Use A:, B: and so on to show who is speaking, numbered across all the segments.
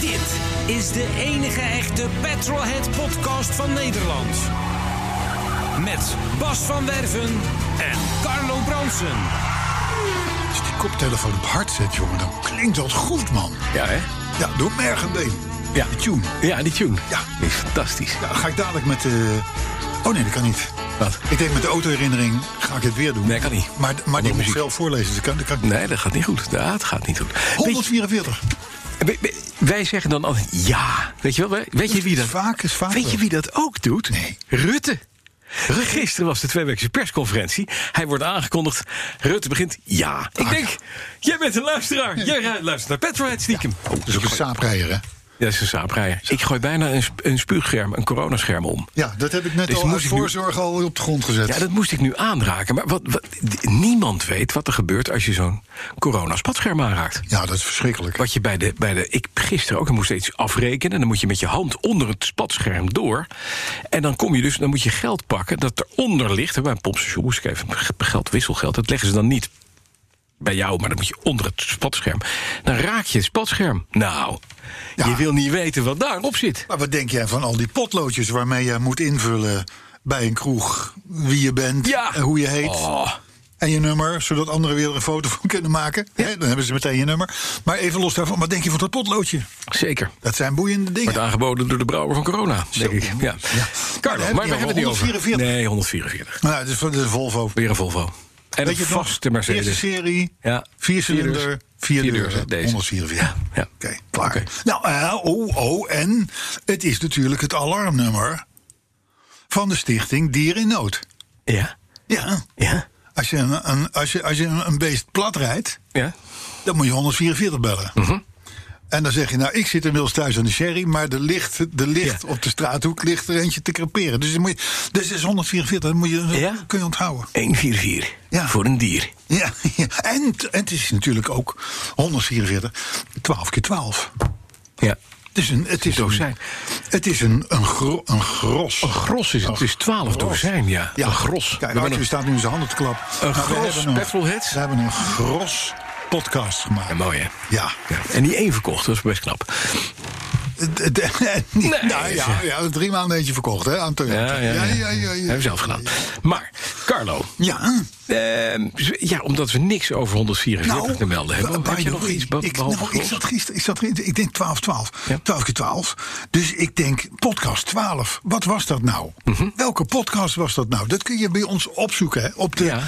A: Dit is de enige echte Petrolhead podcast van Nederland. Met Bas van Werven en Carlo Bronsen.
B: Als je die koptelefoon op hard zet, jongen, dan klinkt dat goed, man.
C: Ja, hè?
B: Ja, door merg en been.
C: Ja.
B: Die tune.
C: Ja, die tune.
B: Ja.
C: Die is fantastisch.
B: Ja, ga ik dadelijk met de... Oh nee, dat kan niet.
C: Wat?
B: Ik denk met de autoherinnering ga ik het weer doen.
C: Nee, kan niet.
B: Maar, maar die moet ik
C: muziek.
B: zelf voorlezen. Dus dat kan, dat kan ik niet.
C: Nee, dat gaat niet goed. Ja, het gaat niet goed. Weet je-
B: 144.
C: we- we- wij zeggen dan altijd ja. Weet je wel? wij- Weet je wie dat,
B: Vaak is vaak
C: weet
B: wel.
C: je wie dat ook doet?
B: Nee.
C: Rutte. Gisteren was de tweeweekse persconferentie. Hij wordt aangekondigd. Rutte begint ja.
B: Ah,
C: Ik denk, jij bent een luisteraar. Jij luistert naar Petrohead stiekem.
B: Oh, Dat is ook een saaprijder, hè?
C: Dat is een saaprijder. Ik gooi bijna een, sp- een spuugscherm, een coronascherm om.
B: Ja, dat heb ik net
C: Dus
B: al
C: moest
B: uit
C: ik nu-
B: voorzorg al op de grond gezet.
C: Ja, dat moest ik nu aanraken. Maar wat, wat, niemand weet wat er gebeurt als je zo'n corona-spatscherm aanraakt.
B: Ja, dat is verschrikkelijk.
C: Wat je bij de, bij de. Ik gisteren ook, dan moest je iets afrekenen. Dan moet je met je hand onder het spatscherm door. En dan kom je dus, dan moet je geld pakken dat eronder ligt. En Bij een pompstation moest ik even geld, wisselgeld. Dat leggen ze dan niet bij jou, maar dan moet je onder het spatscherm. Dan raak je het spatscherm. Nou, je
B: Ja.
C: wil niet weten wat daarop zit.
B: Maar wat denk jij van al die potloodjes waarmee je moet invullen bij een kroeg wie je bent
C: Ja.
B: en hoe je heet?
C: Oh.
B: En je nummer, zodat anderen weer er een foto van kunnen maken. Hè, dan hebben ze meteen je nummer. Maar even los daarvan, wat denk je van dat potloodje?
C: Zeker.
B: Dat zijn boeiende dingen.
C: Wordt aangeboden door de brouwer van corona, denk ik. Ja.
B: Ja.
C: Carlo,
B: Maar daar
C: maar we
B: heb je
C: hebben het niet
B: al
C: over.
B: 144.
C: Nee, 144.
B: Nou, het is van de Volvo.
C: Weer een Volvo. En een
B: Weet je het nog?
C: vaste
B: Eerste
C: Mercedes.
B: serie,
C: Ja.
B: vier
C: Vier
B: cilinder,
C: deurs.
B: vier,
C: Vier
B: deuren.
C: deurs, hè, deze.
B: 144.
C: Ja, ja.
B: Oké, klaar.
C: Oké.
B: Nou, eh, oh, oh, en het is natuurlijk het alarmnummer van de stichting Dier in Nood.
C: Ja.
B: Ja,
C: Ja.
B: als je een, een- als je, als je een een beest plat rijdt,
C: Ja.
B: dan moet je 144 bellen.
C: Mhm.
B: En dan zeg je, nou, ik zit inmiddels thuis aan de sherry... maar er ligt, er ligt
C: Ja.
B: op de straathoek ligt er eentje te creperen. Dus, dan moet je, dus dat is 144, dat moet je, dat
C: Ja?
B: kun je onthouden.
C: 144.
B: Ja.
C: Voor een dier.
B: Ja, ja. En, t- en het is natuurlijk ook 144, 12 keer 12.
C: Ja.
B: Het is een, het is een,
C: dozijn.
B: het is een, een, gro- een gros.
C: Een gros is het. Het is 12 dozijn, ja. Een gros.
B: Kijk,
C: We
B: Arthur
C: hebben
B: staat nu in zijn handen te klap.
C: Een
B: Maar we
C: gros
B: hebben een-
C: petrolheads.
B: We hebben een gros podcast gemaakt.
C: Ja, mooi, hè?
B: Ja.
C: Ja. En die één verkocht, dat is best knap.
B: D- d- en niet-
C: Nee,
B: nou ja, ja, drie maanden eentje verkocht, hè, aan Toyota.
C: Ja, ja, ja.
B: ja, ja, ja.
C: Hebben we zelf gedaan. Maar, Carlo.
B: Ja,
C: ehm, ja, omdat we niks over 144
B: nou,
C: te melden hebben.
B: by
C: heb je
B: the
C: nog
B: way,
C: iets be-
B: ik,
C: behalve
B: nou, ik
C: gros?
B: zat gisteren, ik, zat, gisteren- ik denk 12, 12.
C: Ja.
B: 12 keer 12. Dus ik denk, podcast 12. Wat was dat nou?
C: Mhm.
B: Welke podcast was dat nou? Dat kun je bij ons opzoeken, hè. Op de
C: Ja.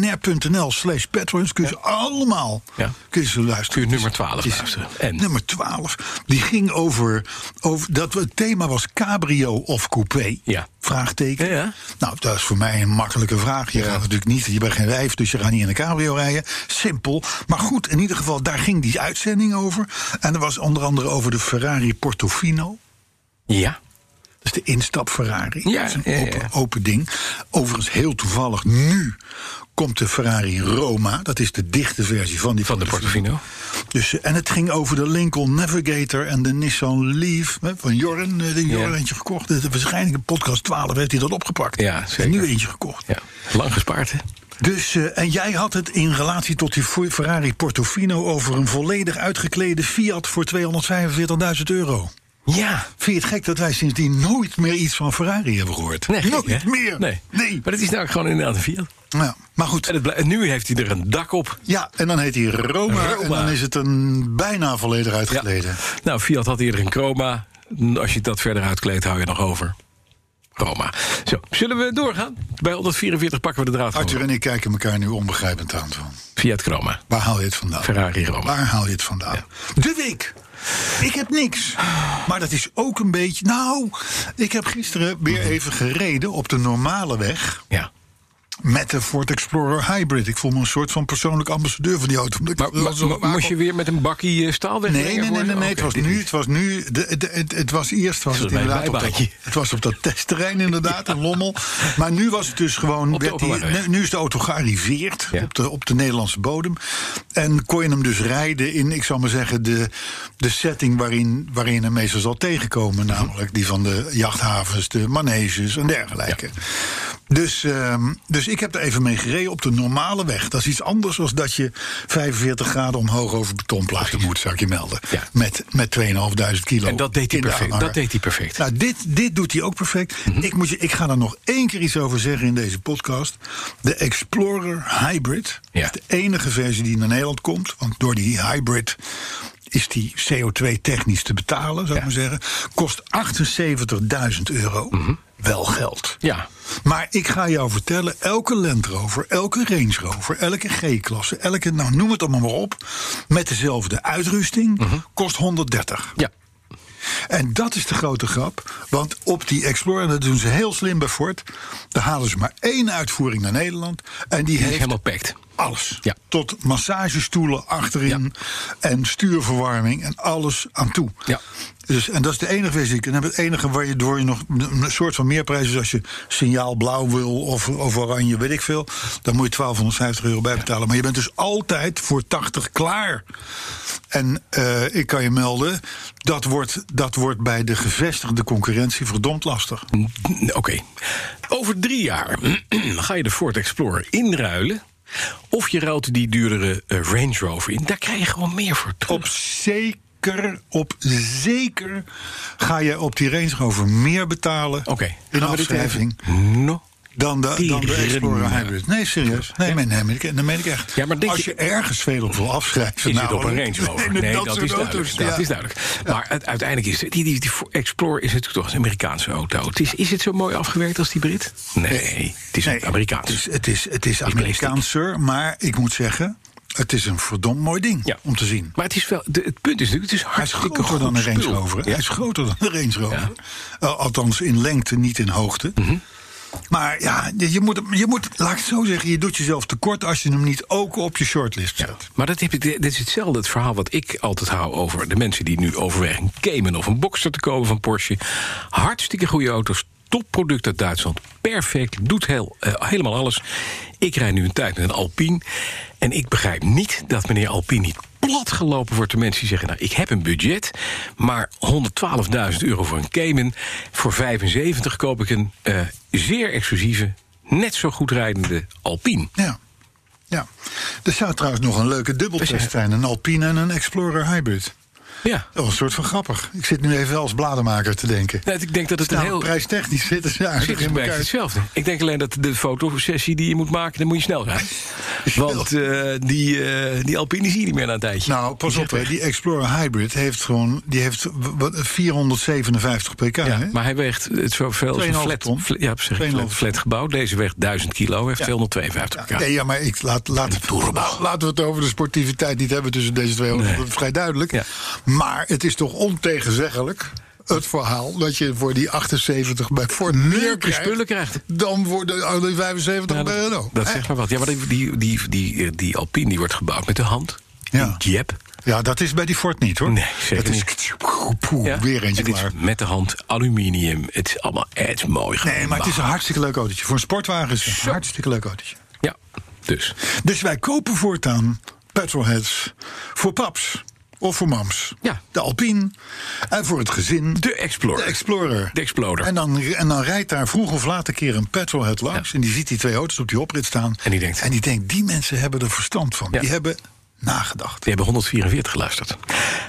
B: bnr.nl slash patrons kun je ze allemaal
C: Ja.
B: kun je ze
C: Kun
B: luisteren.
C: je nummer 12
B: Het is-
C: luisteren. En?
B: Nummer 12. Die ging over, over dat we- het thema was cabrio of coupé.
C: Ja.
B: Vraagteken.
C: Ja, ja.
B: Nou, dat is voor mij een makkelijke vraag. Je gaat natuurlijk niet, je bent geen wijf, dus je gaat niet in een cabrio rijden. Simpel. Maar goed, in ieder geval, daar ging die uitzending over. En dat was onder andere over de Ferrari Portofino.
C: Ja.
B: Dat is de instap Ferrari.
C: Ja,
B: dat is
C: ja,
B: een
C: ja.
B: open, open ding. Overigens, heel toevallig, nu komt de Ferrari Roma. Dat is de dichte versie van die
C: Van de Portofino.
B: Dus, eh, en het ging over de Lincoln Navigator en de Nissan Leaf hè, van Jorren. eh, Die Jorren
C: Ja.
B: eentje gekocht. Eh, Waarschijnlijk in podcast 12 heeft hij dat opgepakt.
C: Ja,
B: En
C: zeker.
B: nu eentje gekocht.
C: Ja. Lang gespaard, hè?
B: Dus, eh, en jij had het in relatie tot die Fer- Ferrari Portofino over een volledig uitgeklede Fiat voor 245.000 euro.
C: Ja.
B: Vind je het gek dat wij sindsdien nooit meer iets van Ferrari hebben gehoord?
C: Nee, gek,
B: nooit
C: hè?
B: meer.
C: Nee.
B: nee.
C: Maar het is nou gewoon inderdaad een Fiat.
B: Ja, maar
C: En,
B: goed.
C: het blij- en nu heeft hij er een dak op.
B: Ja, en dan heet hij Roma,
C: Roma.
B: En dan is het een bijna volledig
C: Ja.
B: uitgeklede.
C: Nou, Fiat had eerder een chroma. Als je dat verder uitkleedt, hou je nog over. Chroma. Zo, zullen we doorgaan? Bij 144 pakken we de draad gewoon.
B: Arthur en ik kijken elkaar nu onbegrijpend aan. Van.
C: Fiat chroma.
B: Waar haal je het vandaan?
C: Ferrari Roma.
B: Waar haal je het vandaan? De week. Ik heb niks. Maar dat is ook een beetje. Nou, ik heb gisteren weer
C: Mhm.
B: even gereden op de normale weg.
C: Ja.
B: Met de Ford Explorer Hybrid. Ik voel me een soort van persoonlijk ambassadeur van die auto. omdat ik
C: Maar,
B: wel
C: maar-
B: zo
C: maar
B: vaak
C: moest je
B: op-
C: weer met een bakkie eh, staal
B: Nee,
C: wegbrengen
B: nee, nee, nee,
C: worden?
B: nee, Het
C: Oké,
B: was
C: dit
B: nu.
C: is-
B: Het was nu. de- de- het, het was eerst was
C: is
B: het
C: mijn
B: inderdaad op dat,
C: bijbaantje.
B: het was op dat testterrein inderdaad in Lommel. Maar nu was het dus gewoon.
C: Op de
B: werd die-
C: openbare weg.
B: nu is de auto gearriveerd
C: Ja.
B: op, de, op de Nederlandse bodem en kon je hem dus rijden in, ik zal maar zeggen de, de setting waarin waarin je hem meestal zal tegenkomen, namelijk die van de jachthavens, de maneges en dergelijke. Dus, ehm, dus ik heb er even mee gereden op de normale weg. Dat is iets anders dan dat je 45 graden omhoog over betonplaten moet, zou ik je melden.
C: Ja.
B: Met, met 2.500 kilo.
C: En dat deed hij
B: in de
C: perfect,
B: aanhanger.
C: dat deed hij perfect.
B: Nou, dit, dit doet hij ook perfect.
C: Mhm.
B: ik, moet je, ik ga er nog één keer iets over zeggen in deze podcast. De Explorer Hybrid
C: Ja.
B: is de enige versie die naar Nederland komt. Want door die hybrid is die CO2 technisch te betalen, zou ik
C: Ja.
B: maar zeggen. Kost 78.000 euro. Wel geld.
C: Mhm. Ja.
B: Maar ik ga jou vertellen, elke Land Rover, elke Range Rover, elke G-klasse, elke, nou noem het allemaal maar op, met dezelfde uitrusting, kost 130.
C: Mhm. Ja.
B: En dat is de grote grap. Want op die Explorer, en dat doen ze heel slim bij Ford. Daar halen ze maar één uitvoering naar Nederland. En die
C: Die is
B: heeft
C: helemaal packed.
B: alles.
C: Ja.
B: Tot massagestoelen achterin. En stuurverwarming en alles aan toe.
C: Ja.
B: Dus, en dat is de enige versie. En dan het enige waar je door je nog een soort van meerprijs is als je signaal blauw wil of, of oranje, weet ik veel. Dan moet je 1250 euro bijbetalen. Maar je bent dus altijd voor 80 klaar. En eh, ik kan je melden, dat wordt, dat wordt bij de gevestigde concurrentie verdomd lastig.
C: Oké. Over drie jaar ga je de Ford Explorer inruilen. Of je ruilt die duurdere eh, Range Rover in. Daar krijg je gewoon meer voor terug.
B: Op zeker, op zeker ga je op die Range Rover meer betalen
C: Oké,
B: in
C: gaan we dit
B: afschrijving
C: even- No.
B: dan de, dan de
C: Tering.
B: Explorer Hybrid. Nee, serieus. Nee, nee, nee, meen ik- dat meen ik echt.
C: Ja, maar denk
B: Als
C: je-
B: je ergens veel op wil afschrijven...
C: Is het
B: nou,
C: op een
B: dan-
C: Range Rover?
B: met
C: Nee, dat,
B: soort
C: is duidelijk.
B: ja.
C: Dat is duidelijk. Maar het- uiteindelijk is het- die, die, die Explorer is natuurlijk toch een Amerikaanse auto. Het is, is het zo mooi afgewerkt als die Brit? Nee, het is
B: Nee,
C: Amerikaans.
B: Het is, het is, het is
C: plastic.
B: Amerikaanser, maar ik moet zeggen... het is een verdomd mooi ding
C: Ja.
B: om te zien.
C: Maar het, is wel, de- het punt is natuurlijk, het is
B: Hij is
C: hartstikke
B: groter dan
C: goed
B: een Range
C: spul.
B: Rover. hè?
C: Ja.
B: Hij is groter dan een Range Rover.
C: Ja.
B: Eh, althans in lengte, niet in hoogte. Maar ja, je je moet, hem- je moet, laat ik het zo zeggen, je doet jezelf tekort als je hem niet ook op je shortlist zet.
C: Maar dat, heb ik- dit is hetzelfde het verhaal wat ik altijd hou over de mensen die nu overwegen een Cayman of een Boxster te kopen van Porsche. Hartstikke goede auto's, topproduct uit Duitsland, perfect, doet heel, eh, helemaal alles. Ik rijd nu een tijd met een Alpine en ik begrijp niet dat meneer Alpine niet platgelopen wordt door mensen die zeggen... nou, ik heb een budget, maar 112.000 euro voor een Cayman... voor 75 koop ik een eh, zeer exclusieve, net zo goed rijdende Alpine.
B: Ja. ja. Er staat trouwens nog een leuke dubbeltest zijn. Een Alpine en een Explorer Hybrid.
C: Ja.
B: Dat was een soort van grappig. Ik zit nu even wel als blademaker te denken.
C: Nou, ik denk dat het een
B: Nou,
C: heel...
B: prijstechnisch zitten ze
C: Zit
B: eigenlijk
C: is
B: in
C: een beetje
B: elkaar.
C: hetzelfde. Ik denk alleen dat de fotosessie die je moet maken, dan moet je snel rijden. Want eh, die, eh, die Alpine zie je niet meer na een tijdje.
B: Nou, pas op, hè. die Explorer Hybrid heeft gewoon die heeft wat, 457 pk.
C: ja,
B: Nou, hè?
C: maar hij weegt het zoveel als een
B: 2,5
C: flat,
B: ton.
C: fla- ja, zeg ik,
B: 2,5
C: flat, flat gebouw. Deze weegt 1000 kilo, heeft 252
B: Ja,
C: pk.
B: nee, ja, maar ik, laat, laat, laten we het over de sportiviteit niet hebben tussen deze twee. want
C: Nee.
B: Dat is vrij duidelijk.
C: Ja.
B: Maar het is toch ontegenzeggelijk. Het verhaal dat je voor die 78 bij Ford meer
C: Leuke
B: krijgt,
C: spullen krijgt.
B: dan voor de, oh, die 75
C: Ja,
B: bij
C: dat,
B: Renault.
C: dat
B: Hè?
C: zegt maar wat. Ja, maar die, die, die, die, eh, die Alpine die wordt gebouwd met de hand.
B: Ja.
C: In jep.
B: Ja, dat is bij die Ford niet hoor.
C: Nee, zeker
B: dat is Poeh,
C: Ja.
B: weer eentje
C: En dit is
B: klaar.
C: Met de hand, aluminium. Het is allemaal het is mooi.
B: Nee, maar het is een hartstikke leuk autootje. Voor een sportwagen is het een hartstikke leuk autootje.
C: Ja, dus.
B: Dus wij kopen voortaan petrolheads voor paps of voor mams.
C: Ja.
B: De Alpine en voor het gezin.
C: De Explorer.
B: De Explorer.
C: De Explorer.
B: En dan, en dan rijdt daar vroeg of laat een keer een petrolhead langs.
C: Ja.
B: En die ziet die twee auto's op die oprit staan.
C: En die denkt-
B: en die, denkt, die mensen hebben er verstand van.
C: Ja.
B: Die hebben nagedacht.
C: Die hebben 144 geluisterd.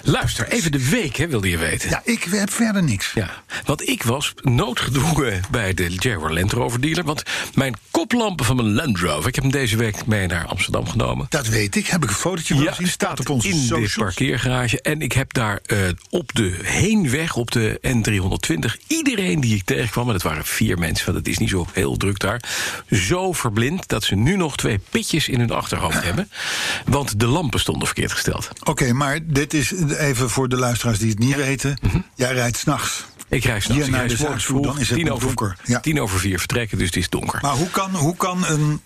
C: Luister, even de week, hè, wilde je weten.
B: Ja, ik heb verder niks.
C: Ja, want ik was noodgedwongen bij de Jaguar Land Rover dealer. Want mijn koplampen van mijn Land Rover... ik heb hem deze week mee naar Amsterdam genomen.
B: Dat weet ik. Heb ik een fotootje van gezien. Staat op onze
C: in de
B: socials.
C: parkeergarage. En ik heb daar eh, op de heenweg, op de N320... iedereen die ik tegenkwam, en dat waren vier mensen... want het is niet zo heel druk daar... zo verblind dat ze nu nog twee pitjes in hun achterhoofd hebben. Want de lampen stonden verkeerd gesteld.
B: Oké, maar dit is even voor de luisteraars die het niet weten.
C: Mhm.
B: Jij rijdt s'nachts.
C: Ik rij s'nachts,
B: Hier
C: ik
B: naar
C: rij
B: de
C: s'morgens
B: Zuidpoel,
C: vroeg.
B: dan is het
C: tien,
B: nog
C: over,
B: donker. Ja.
C: tien over vier vertrekken, dus het is donker.
B: Maar hoe kan, hoe kan een,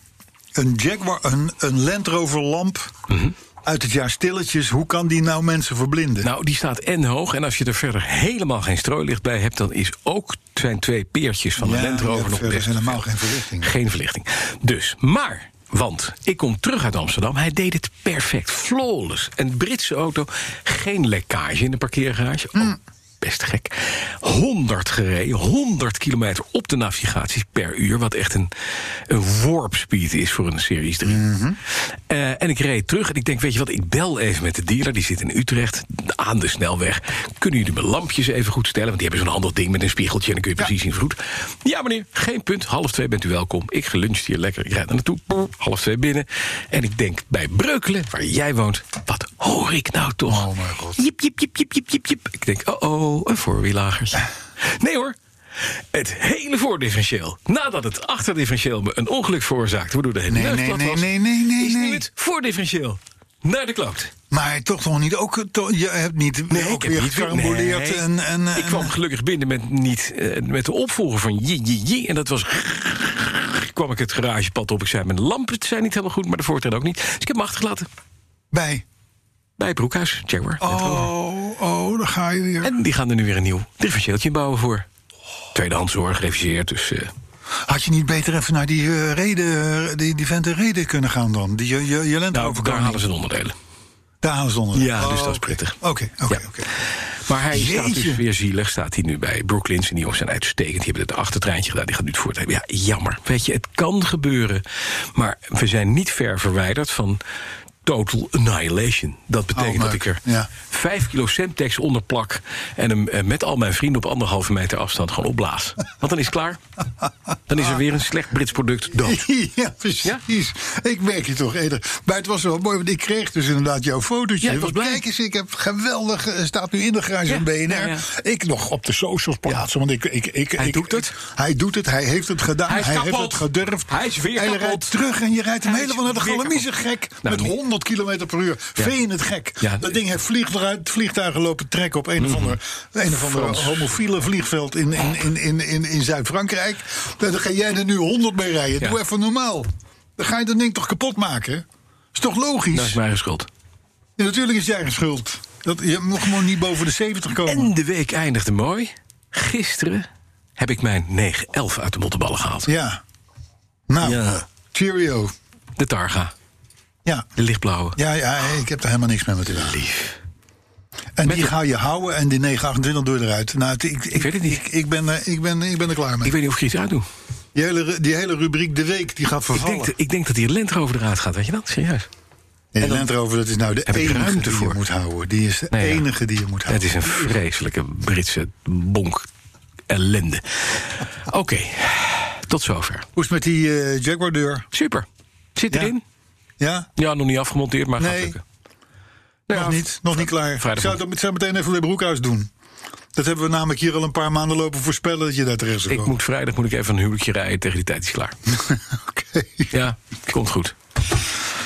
B: een Jaguar, een, een Land Rover lamp
C: Mhm.
B: uit het jaar stilletjes, hoe kan die nou mensen verblinden?
C: Nou, die staat en hoog. En als je er verder helemaal geen strooilicht bij hebt... dan is ook zijn twee peertjes van de
B: Ja,
C: Land Rover
B: ja,
C: nog
B: verder
C: best
B: is helemaal geen verlichting.
C: Geen verlichting. Dus, maar... Want ik kom terug uit Amsterdam. Hij deed het perfect. Flawless. Een Britse auto. Geen lekkage in de parkeergarage. Oh,
B: Mm.
C: best gek. 100 gereden. 100 kilometer op de navigaties per uur. Wat echt een, een warp speed is voor een Series 3.
B: Mhm.
C: Eh, en ik reed terug. En ik denk, weet je wat? Ik bel even met de dealer. Die zit in Utrecht. Aan de snelweg. Kunnen jullie mijn lampjes even goed stellen? Want die hebben zo'n handig ding met een spiegeltje. En dan kun je precies zien goed. Ja, meneer. Geen punt. Half twee bent u welkom. Ik geluncht hier lekker. Ik rijd naar naartoe. Boem, Half twee binnen. En ik denk, bij Breukelen, waar jij woont. Wat hoor ik nou toch?
B: Oh, mijn god.
C: Jip, jip, jip, jip, jip, jip, jip. Ik denk, oh-oh, een voorwielagertje. Nee hoor, het hele voordifferentieel. Nadat het achterdifferentieel me een ongeluk veroorzaakte... waardoor de hele
B: Nee,
C: neus
B: nee,
C: plat
B: nee,
C: was,
B: nee, nee, nee,
C: is nu
B: nee.
C: het voordifferentieel. Naar de kloot.
B: Maar toch nog niet ook. to- je hebt niet ook
C: ik heb
B: weer
C: niet-
B: gecaramboleerd.
C: nee.
B: En, en,
C: ik
B: en- eh,
C: kwam gelukkig binnen met, niet, eh, met de opvolger van Ji Ji Ji. En dat was... kwam ik het garagepad op. Ik zei, mijn lampen zijn niet helemaal goed, maar de voortrein ook niet. Dus ik heb hem achtergelaten
B: bij.
C: bij het broekhuis. Jaguar. Land Rover.
B: Oh, oh, daar ga je weer.
C: En die gaan er nu weer een nieuw differentieeltje bouwen voor. Tweedehands hoor, gereviseerd. Dus eh,
B: Had je niet beter even naar die eh, reden, eh, die, die vent in reden kunnen gaan dan? Die je, je, je lente
C: nou,
B: over
C: daar halen ze de onderdelen.
B: Daar halen ze onder.
C: Ja,
B: Oh,
C: dus dat is
B: oké.
C: prettig.
B: Oké, oké,
C: Ja.
B: oké.
C: Maar hij staat
B: Jeetje.
C: dus weer zielig. Staat hij nu bij Brooklyns. En die jongens zijn uitstekend. Die hebben het achtertreintje gedaan. Die gaat nu het voortrein. Ja, jammer. Weet je, het kan gebeuren. Maar we zijn niet ver verwijderd van total annihilation. Dat betekent
B: Oh,
C: dat
B: leuk.
C: ik er
B: Ja.
C: vijf kilo Semtex onder plak... en hem eh, met al mijn vrienden op anderhalve meter afstand gewoon opblaas. Want dan is het klaar. Dan is er weer een slecht Brits product dood.
B: Ja, precies. Ik merk je toch eerder. Maar het was wel mooi, want ik kreeg dus inderdaad jouw fotootje.
C: Ja, ik was
B: Want
C: blij.
B: Kijk eens, ik heb geweldig, eh, staat nu in de garage
C: Ja,
B: van BNR.
C: ja, ja.
B: Ik nog op de socials plaatsen, want ik... ik, ik
C: Hij
B: ik-
C: doet het.
B: hij doet het, hij heeft het gedaan,
C: Hij
B: hij,
C: is
B: heeft
C: kapot.
B: het gedurfd.
C: Hij is weer
B: En je
C: kapot.
B: rijdt terug en je rijdt hem
C: Hij is
B: helemaal naar de
C: weer
B: galamiezen gek.
C: Nou,
B: met
C: niet-
B: 100 km per uur.
C: Ja.
B: Veen het gek.
C: Ja.
B: dat ding heeft vlieg eruit, vliegtuigen lopen trekken op een of ander, een of ander
C: Mhm. Frans. Oh.
B: homofiele vliegveld in, in, in, in, in, in Zuid-Frankrijk. Dan ga jij er nu 100 mee rijden.
C: Ja.
B: Doe even normaal. Dan ga je dat ding toch kapot maken? Is toch
C: Dat is
B: logisch?
C: mijn eigen schuld.
B: Ja, natuurlijk is jij eigen schuld. Dat, je mag gewoon niet boven de 70 komen.
C: En de week eindigde mooi. Gisteren heb ik mijn 911 uit de motteballen gehaald.
B: Ja. Nou,
C: Ja.
B: cheerio.
C: De Targa,
B: Ja.
C: de lichtblauwe.
B: Ja, ja, ik heb er helemaal niks mee met die wagen.
C: Lief.
B: En
C: Met
B: die
C: de-
B: ga je houden en die 928 doe je eruit. Nou, het- ik, ik,
C: weet het niet.
B: Ik, ik, ben, er- ik, ben, ik ben er klaar mee.
C: Ik weet niet of ik er iets aan doe.
B: Die hele, ru- die hele rubriek De Week die gaat
C: Ik
B: vervallen.
C: denk, dat- ik denk dat die Land Rover eruit gaat, weet je dat? Serieus.
B: Nee, de Land Rover, dat is nou de
C: Heb ik
B: enige
C: ruimte
B: die
C: voor?
B: je moet houden. Die is de
C: Nee, ja.
B: enige die je moet
C: Het
B: houden.
C: is een vreselijke Britse bonk ellende. Oké, tot zover.
B: Hoe is het met die eh, Jaguar-deur?
C: Super. Zit
B: Ja.
C: erin?
B: Ja?
C: Ja, nog niet afgemonteerd, maar gaat
B: Nee.
C: lukken. Nou,
B: nog niet, nog niet klaar. Ik
C: vrijdag
B: zou
C: nog.
B: dat met- zou meteen even bij Broekhuis doen. Dat hebben we namelijk hier al een paar maanden lopen voorspellen dat je daar terecht zou
C: Ik
B: komen.
C: moet vrijdag moet ik even een huwelijkje rijden. Tegen die tijd is het klaar.
B: Oké.
C: Ja, komt goed.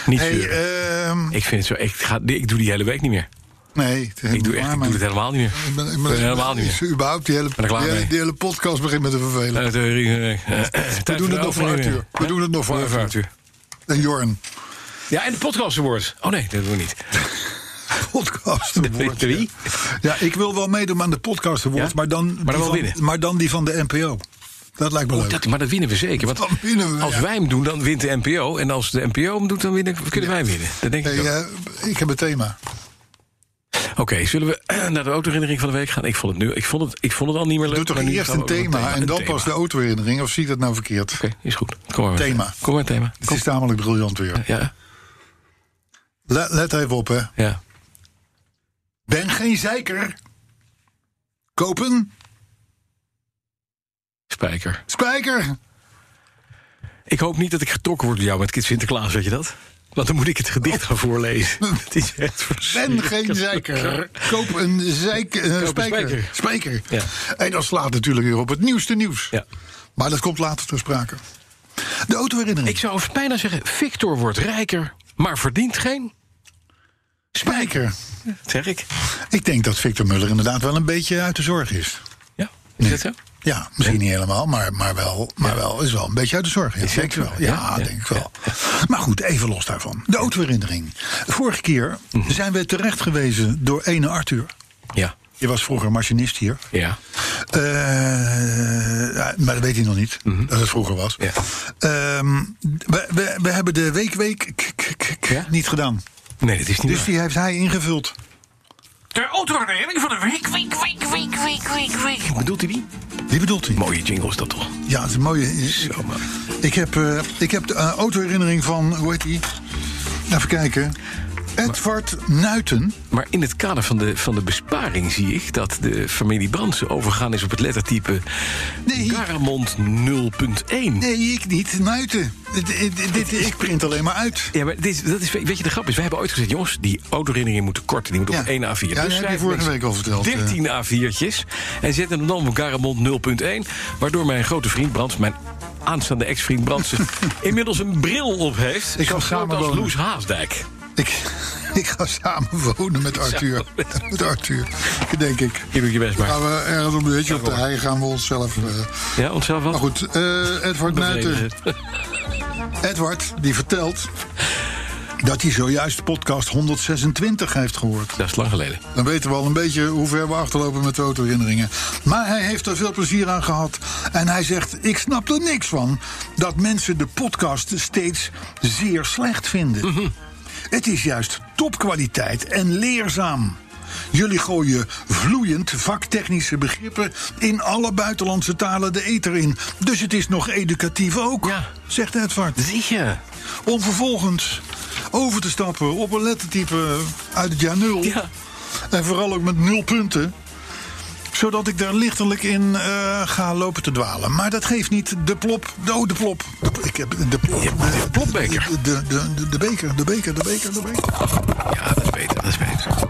C: Niet
B: Hey,
C: zeuren.
B: ehm,
C: Ik vind het zo. Ik, ga, ik doe die hele week niet meer.
B: nee, het is
C: Ik
B: helemaal
C: doe, echt,
B: waar,
C: ik
B: maar-
C: doe het helemaal niet meer.
B: Ik ben, ik ben-
C: Ik ben helemaal niet meer.
B: is Überhaupt, die hele,
C: er klaar
B: die, hele-
C: mee.
B: die hele podcast begint met te vervelen.
C: Eh, theorie, eh, eh, tijd
B: we doen
C: de
B: het nog voor
C: overneming.
B: Arthur. We
C: Hè?
B: doen het nog voor
C: Doen we
B: Arthur.
C: Eh.
B: En Jorn,
C: Ja, en de podcast award. Oh nee, dat doen we niet.
B: podcast
C: De
B: awards.
C: drie?
B: Ja, ik wil wel meedoen aan de podcast awards,
C: Ja?
B: maar, dan
C: Maar dan
B: die
C: wel
B: van,
C: winnen. Oh,
B: maar dan die van de NPO. Dat lijkt me leuk.
C: Dat, maar dat winnen we zeker. Want
B: Dat winnen we,
C: als
B: ja.
C: wij hem doen, dan wint de NPO. En als de NPO hem doet, dan winnen, kunnen wij winnen. Dat denk ik
B: Hey,
C: ook.
B: eh, ik heb een thema.
C: Oké, zullen we eh, naar de autoherinnering van de week gaan? Ik vond het, nu, ik vond het, ik vond het al niet meer leuk.
B: Doe toch
C: maar nu
B: eerst
C: gaan
B: een
C: we ook nog
B: thema, en
C: Een
B: dan
C: thema.
B: pas de
C: Oké,
B: autoherinnering. Of zie ik dat nou verkeerd?
C: is goed. Kom maar.
B: Thema.
C: Kom maar, thema.
B: Het
C: Kom.
B: is namelijk briljant weer.
C: Ja,
B: Let, let even op, hè.
C: ja.
B: Ben geen zeiker. Kopen
C: Spijker.
B: spijker.
C: Ik hoop niet dat ik getrokken word door jou met Kit Sinterklaas, weet je dat? Want dan moet ik het gedicht gaan voorlezen. Het is echt
B: Ben
C: verschrikkelijk.
B: geen zeiker. Koop een zeik, eh,
C: een
B: spijker. Spijker.
C: Ja.
B: En dat slaat natuurlijk weer op het nieuwste nieuws.
C: Ja.
B: Maar dat komt later ter sprake. De autoherinnering.
C: Ik zou bijna zeggen, Victor wordt rijker, maar verdient geen...
B: Spijker.
C: Dat zeg ik.
B: Ik denk dat Victor Muller inderdaad wel een beetje uit de zorg is.
C: Ja, is dat zo?
B: Ja, misschien niet helemaal, maar, maar, wel, maar wel is wel een beetje uit de zorg. Ja, denk ik wel. Ja,
C: Ja, ja,
B: denk ik wel. Maar goed, even los daarvan. De autoherinnering. Vorige keer
C: Mhm.
B: zijn we terecht gewezen door ene Arthur.
C: Ja.
B: Je was vroeger machinist hier.
C: Ja.
B: Eh, ja, maar dat weet hij nog niet, dat het vroeger was.
C: Mhm. Ja.
B: Ehm, we, we, we hebben de weekweek k- k- k- k-
C: Ja?
B: niet gedaan.
C: Nee, dat is niet
B: Dus die heeft hij ingevuld.
C: De autoherinnering van de week, week, week, week, week, week, week. Bedoelt u die?
B: Die bedoelt hij.
C: Mooie jingle is dat toch?
B: Ja, het is een mooie.
C: Zo, man.
B: Ik heb, eh, ik heb de eh, autoherinnering van, hoe heet die? Even kijken. Edward Nuiten.
C: Maar in het kader van de, van de besparing zie ik dat de familie Brandsen overgaan is op het lettertype
B: Nee.
C: Garamond 0.1.
B: Nee, ik niet. Nuiten. Dit- dit- dit- Ik print alleen maar uit.
C: Ja, maar dit, is- dat is, weet je, de grap is, we hebben ooit gezegd... jongens, die autoherinneringen moeten kort, die moeten
B: Ja.
C: op 1 A4.
B: Ja, dat heb je
C: schrijven
B: vorige
C: mensen
B: week al verteld, eh.
C: 13 A4'tjes en zetten hem dan op Garamond 0.1... waardoor mijn grote vriend Brands, mijn aanstaande ex-vriend Brands... inmiddels een bril op heeft,
B: Ik
C: zo
B: ga
C: groot
B: samen
C: als
B: wonen.
C: Loes Haasdijk.
B: Ik, ik ga samen wonen met Arthur. Met Arthur, denk ik.
C: Je doet je best maar.
B: Gaan we ergens een beetje op de hei gaan we onszelf. eh,
C: Ja, onszelf wel.
B: Maar goed, eh, Edward Nuiten.
C: Bevredigen.
B: Edward, die vertelt dat hij zojuist podcast 126 heeft gehoord.
C: Dat is lang geleden.
B: Dan weten we al een beetje hoe ver we achterlopen met de autoherinneringen. Maar hij heeft er veel plezier aan gehad. En hij zegt, ik snap er niks van... dat mensen de podcast steeds zeer slecht vinden. Het is juist topkwaliteit en leerzaam. Jullie gooien vloeiend vaktechnische begrippen... in alle buitenlandse talen de eter in. Dus het is nog educatief ook,
C: Ja.
B: zegt Edward
C: Zie je?
B: om vervolgens over te stappen op een lettertype uit het jaar nul.
C: Ja.
B: En vooral ook met nul punten. Zodat ik daar lichtelijk in eh, ga lopen te dwalen. Maar dat geeft niet. De plop. de- Oh, de plop. De, ik heb de plop. De
C: plopbeker.
B: De, de, de, de, de beker, de beker, de beker, de beker.
C: Ja, dat is beter, dat is beter.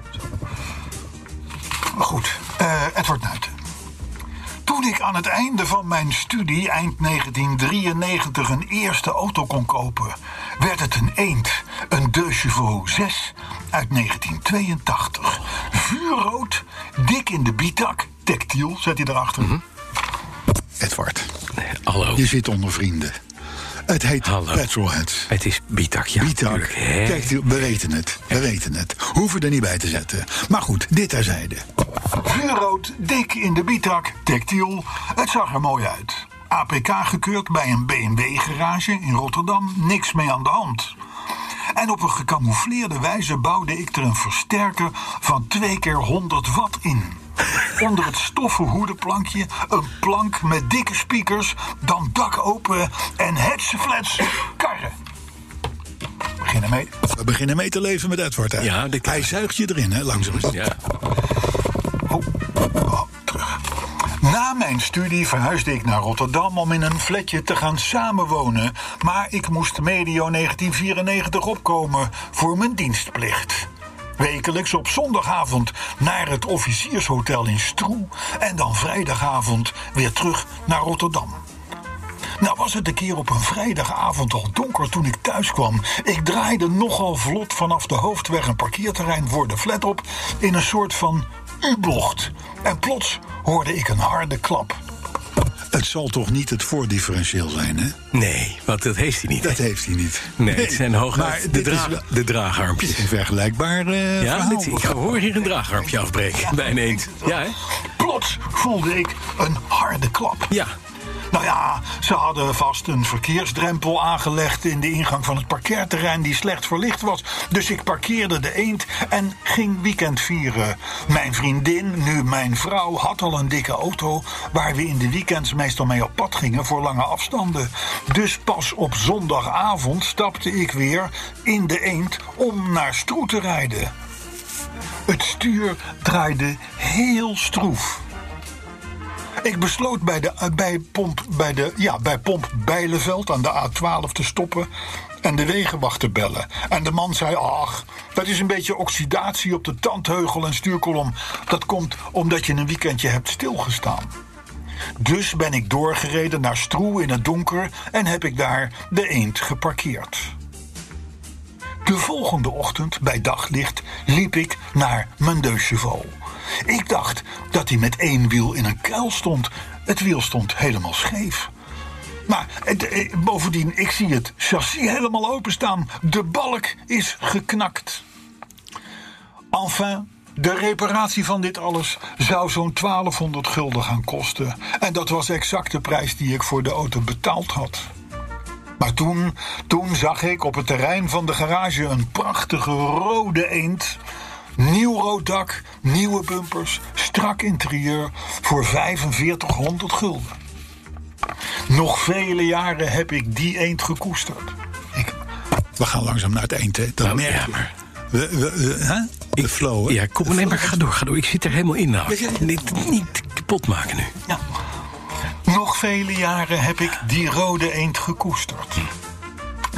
B: Maar goed, eh Edward Nuiten. Toen ik aan het einde van mijn studie eind 1993 een eerste auto kon kopen, werd het een eend, een De Chevaux 6 uit 1982. Vuurrood, dik in de bietak, tactiel, zet hij erachter. Edward,
C: Nee, hallo.
B: je zit onder vrienden. Het heet
C: Hallo.
B: Petrolheads.
C: Het is Bietak, ja.
B: Bietak.
C: tuurlijk, hè.
B: Kijk, we weten het. We weten het. Hoeven er niet bij te zetten. Maar goed, dit terzijde. Vuurrood, dik in de Bietak, tactiel. Het zag er mooi uit. APK gekeurd bij een BMW-garage in Rotterdam. Niks mee aan de hand. En op een gecamoufleerde wijze bouwde ik er een versterker van 2 keer 100 watt in. Onder het stoffen hoedenplankje een plank met dikke speakers, dan dak open en hetseflets karren. We beginnen mee, we beginnen mee te leven met Edward. Hè?
C: Ja, dit-
B: Hij zuigt je erin, hè, langzaam.
C: Ja,
B: Oh, oh, terug. Na mijn studie verhuisde ik naar Rotterdam om in een flatje te gaan samenwonen. Maar ik moest medio 1994 opkomen voor mijn dienstplicht. Wekelijks op zondagavond naar het officiershotel in Stroe en dan vrijdagavond weer terug naar Rotterdam. Nou was het een keer op een vrijdagavond al donker toen ik thuis kwam. Ik draaide nogal vlot vanaf de hoofdweg een parkeerterrein voor de flat op... in een soort van U-bocht. En plots hoorde ik een harde klap. Het zal toch niet het voordifferentieel zijn, hè?
C: nee, want dat heeft hij niet.
B: Dat heeft hij niet.
C: Nee, het zijn
B: Maar
C: hooguit de,
B: dit is
C: draag,
B: wel-
C: de
B: dit is
C: draagarmpjes.
B: een vergelijkbaar eh,
C: Ja,
B: verhaal.
C: dit, ik hoor hier een draagarmpje afbreken bij een eend. Ja, hè?
B: Plots voelde ik een harde klap.
C: Ja.
B: Nou ja, ze hadden vast een verkeersdrempel aangelegd in de ingang van het parkeerterrein die slecht verlicht was. Dus ik parkeerde de eend en ging weekend vieren. Mijn vriendin, nu mijn vrouw, had al een dikke auto waar we in de weekends meestal mee op pad gingen voor lange afstanden. Dus pas op zondagavond stapte ik weer in de eend om naar Stroe te rijden. Het stuur draaide heel stroef. Ik besloot bij, de, eh, bij, pomp, bij, de, ja, bij pomp Bijleveld aan de A12 te stoppen en de wegenwacht te bellen. En de man zei, ach, dat is een beetje oxidatie op de tandheugel en stuurkolom. Dat komt omdat je een weekendje hebt stilgestaan. Dus ben ik doorgereden naar Stroe in het donker en heb ik daar de eend geparkeerd.
D: De volgende ochtend, bij daglicht, liep ik naar mijn Deux-Chevaux. Ik dacht dat hij met één wiel in een kuil stond. Het wiel stond helemaal scheef. Maar het, eh, bovendien, ik zie het chassis helemaal openstaan. De balk is geknakt. Enfin, de reparatie van dit alles zou zo'n 1200 gulden gaan kosten. En dat was exact de prijs die ik voor de auto betaald had. Maar toen, toen zag ik op het terrein van de garage een prachtige rode eend. Nieuw rood dak, nieuwe bumpers, strak interieur voor 4500 gulden. Nog vele jaren heb ik die eend gekoesterd. Ik... We gaan langzaam naar het eind, hè? Dat
C: Nou,
D: merk
C: ja,
D: je.
C: maar-
D: We, we, we- hè? De flow, hè?
C: Ja, kom nee, maar ga door, ga door. Ik zit er helemaal in nou.
D: Ja, ja, ja.
C: Niet, niet kapot maken nu.
D: Ja. Nog vele jaren heb ik die rode eend gekoesterd.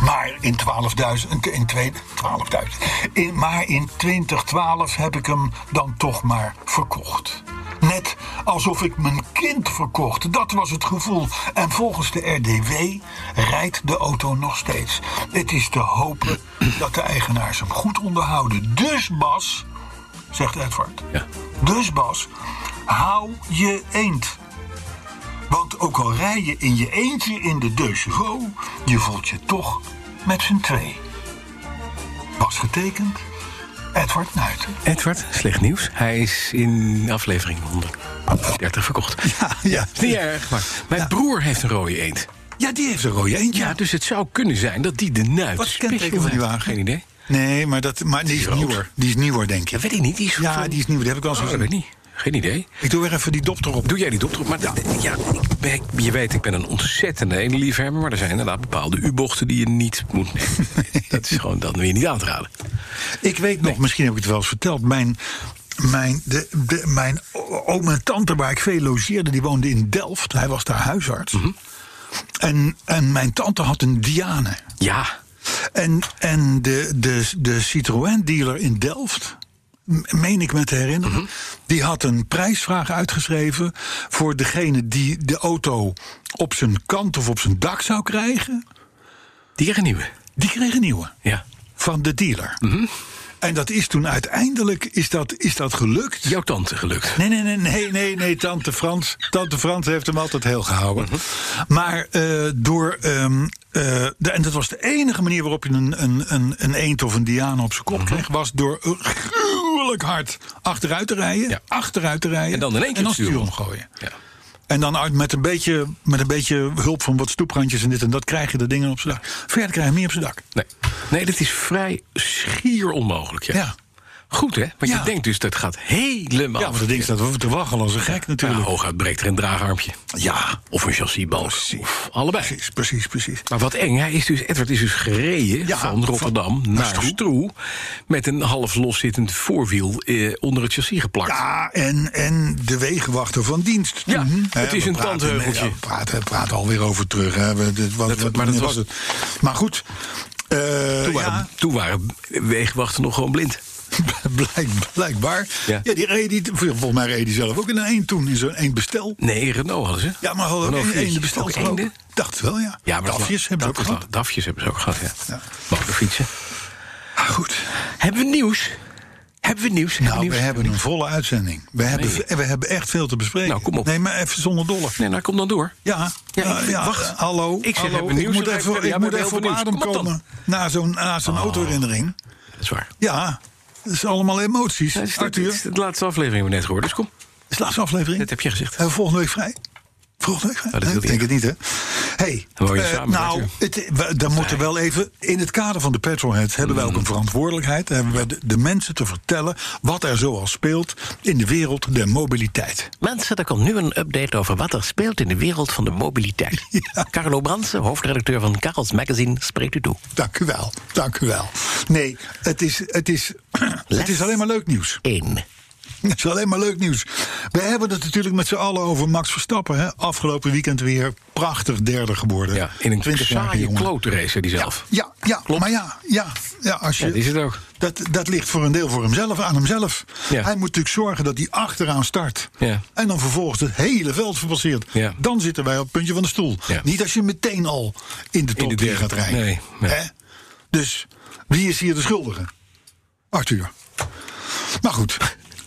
D: Maar in 12.000, in twee- 12.000, in, maar in 2012 heb ik hem dan toch maar verkocht. Net alsof ik mijn kind verkocht. Dat was het gevoel. En volgens de RDW rijdt de auto nog steeds. Het is te hopen dat de eigenaars hem goed onderhouden. Dus Bas, zegt Edward.
C: Ja.
D: Dus Bas, hou je eend. Want ook al rij je in je eentje in de Deucevo, je voelt je toch met z'n twee. Was getekend, Edward Nuiten.
C: Edward, slecht nieuws. Hij is in aflevering 130 verkocht.
D: Ja, ja.
C: Is Niet erg, maar mijn broer heeft een rode eend.
D: ja, die heeft een rode eendje.
C: Ja, dus het zou kunnen zijn dat die de nuit...
D: Wat is het kenteken van die
C: Special-
D: wagen?
C: Geen idee.
D: Nee, maar, dat, maar die is
C: rood.
D: nieuwer. Die is nieuwer, denk
C: Dat
D: ik.
C: weet ik niet. Die is
D: Ja, die is nieuw. Die heb ik wel eens
C: Oh, dat
D: gezien.
C: weet ik niet. Geen idee.
D: Ik doe weer even die dop erop.
C: Doe jij niet op? Maar dat- ja, ik ben- je weet, ik ben een ontzettende liefhebber, maar er zijn inderdaad bepaalde U-bochten die je niet moet nemen. dat is gewoon dan weer niet aan te raden.
D: Ik weet nog, misschien heb ik het wel eens verteld. Mijn, mijn, de, de- mijn o- oom en tante waar ik veel logeerde, die woonde in Delft. Hij was daar huisarts. en, en mijn tante had een Diane.
C: Ja,
D: En, en de, de, de Citroën-dealer in Delft, m- meen ik me te herinneren, die had een prijsvraag uitgeschreven voor degene die de auto op zijn kant of op zijn dak zou krijgen.
C: die krijgen nieuwe.
D: Die kreeg een nieuwe
C: Ja.
D: van de dealer. En dat is toen uiteindelijk is dat, is dat gelukt.
C: Jouw tante gelukt.
D: Nee, nee, nee, nee, nee, nee, tante Frans. Tante Frans heeft hem altijd heel gehouden.
C: Mhm.
D: Maar eh, door. ehm, eh, de, en dat was de enige manier waarop je een, een, een, een eend of een diana op zijn kop
C: Mhm.
D: kreeg. Was door gruwelijk hard achteruit te rijden.
C: Ja.
D: Achteruit te rijden.
C: En dan in één keer het stuur
D: stuur
C: om.
D: omgooien.
C: Ja.
D: En dan uit- met een, beetje, met een beetje hulp van wat stoeprandjes en dit en dat krijg je de dingen op zijn dak. Verder krijg je meer op zijn dak.
C: Nee. nee, dat is vrij schier onmogelijk. Ja.
D: Ja.
C: Goed hè? Want
D: Ja.
C: je denkt dus dat gaat helemaal.
D: Ja, want dat ding staat wel te waggelen als een gek
C: Ja,
D: natuurlijk.
C: hooguit breekt er een draagarmpje.
D: Ja,
C: Of een chassisbalk. Of allebei.
D: precies, precies, precies.
C: Maar wat eng, hij is dus, Edward is dus gereden
D: Ja,
C: van Rotterdam
D: van-
C: naar
D: naar Stroe.
C: Stroe... met een half loszittend voorwiel eh, onder het chassis geplakt.
D: Ja, en, en de wegenwachter van dienst.
C: Ja,
D: Mhm.
C: het
D: Hè,
C: is
D: we
C: een
D: praten-
C: tandheuveltje.
D: ja, We praten, praten alweer over terug. Hè. We, dit- wat,
C: Dat-
D: wat-
C: maar dat
D: wat
C: was-
D: het. Maar goed, eh,
C: toen, waren,
D: ja,
C: toen waren wegenwachten nog gewoon blind.
D: blijk, blijkbaar. Ja.
C: Ja.
D: die reed, die, volgens mij reed die zelf ook in een eend toen, in zo'n eend bestel.
C: Nee, Renault hadden ze.
D: Ja, maar hadden
C: Renault
D: een eend
C: viertjes.
D: bestel
C: Ook
D: toch ook?
C: eenden?
D: Dacht wel, ja.
C: Ja, maar dat
D: Dafjes
C: is-
D: hebben ze ook
C: dat is-
D: gehad.
C: Dafjes hebben ze ook gehad, ja.
D: Ja.
C: Motorfietsen.
D: Ah, goed.
C: Hebben we nieuws? Hebben we nieuws? Hebben
D: Nou,
C: nieuws?
D: we hebben een volle uitzending. We hebben,
C: Nee.
D: we hebben echt veel te bespreken.
C: Nou, kom op.
D: Nee, maar even zonder dolle.
C: Nee, nou, kom dan door.
D: Ja,
C: Ja,
D: ja,
C: ik-
D: ja,
C: wacht.
D: hallo.
C: Ik zeg,
D: hallo.
C: hebben we nieuws
D: moet
C: of
D: even,
C: even-
D: ik
C: ja, we
D: moet
C: hebben
D: even op
C: heel veel
D: adem
C: nieuws. Kom op Oh.
D: komen. Na zo'n na zo'n autoherinnering.
C: Dat is waar.
D: Ja, dat is allemaal emoties.
C: Ja, dit is- dit
D: Arthur,
C: is de laatste aflevering hebben we net gehoord, dus kom.
D: is de laatste aflevering.
C: Dat heb je gezegd.
D: Hebben we volgende week vrij? Volgende week vrij?
C: dat
D: Nee,
C: wil
D: ik denk
C: ik.
D: het niet, hè? Hey,
C: Dan woon je
D: eh,
C: samen,
D: nou, het, we- dan moeten we wel even... In het kader van de Petrolhead hebben wij ook
C: Mm.
D: een verantwoordelijkheid. Hebben we de, de mensen te vertellen wat er zoal speelt... in de wereld der mobiliteit.
E: Mensen, er komt nu een update over wat er speelt in de wereld van de mobiliteit. Carlo Bransen, hoofdredacteur van Karels Magazine, spreekt u toe.
D: Dank u wel, dank u wel. Nee, het is, het is, het is alleen maar leuk nieuws.
E: 1.
D: Het is alleen maar leuk nieuws. We hebben het natuurlijk met z'n allen over Max Verstappen. Hè? Afgelopen weekend weer prachtig derde geworden.
C: Ja, in een
D: 20-jarige
C: saaie
D: jongen.
C: klote race, die zelf.
D: Ja, ja maar ja, ja, ja, als je,
C: Ja, die is het ook.
D: Dat, dat ligt voor een deel voor hemzelf, aan hemzelf.
C: Ja.
D: Hij moet natuurlijk zorgen dat hij achteraan start.
C: Ja.
D: En dan vervolgens het hele veld verpasseert.
C: Ja.
D: Dan zitten wij op het puntje van de stoel.
C: Ja.
D: Niet als je meteen al in de top
C: de
D: 3
C: derde.
D: gaat rijden.
C: Nee, nee.
D: Hè? Dus Wie is hier de schuldige? Arthur. Maar goed,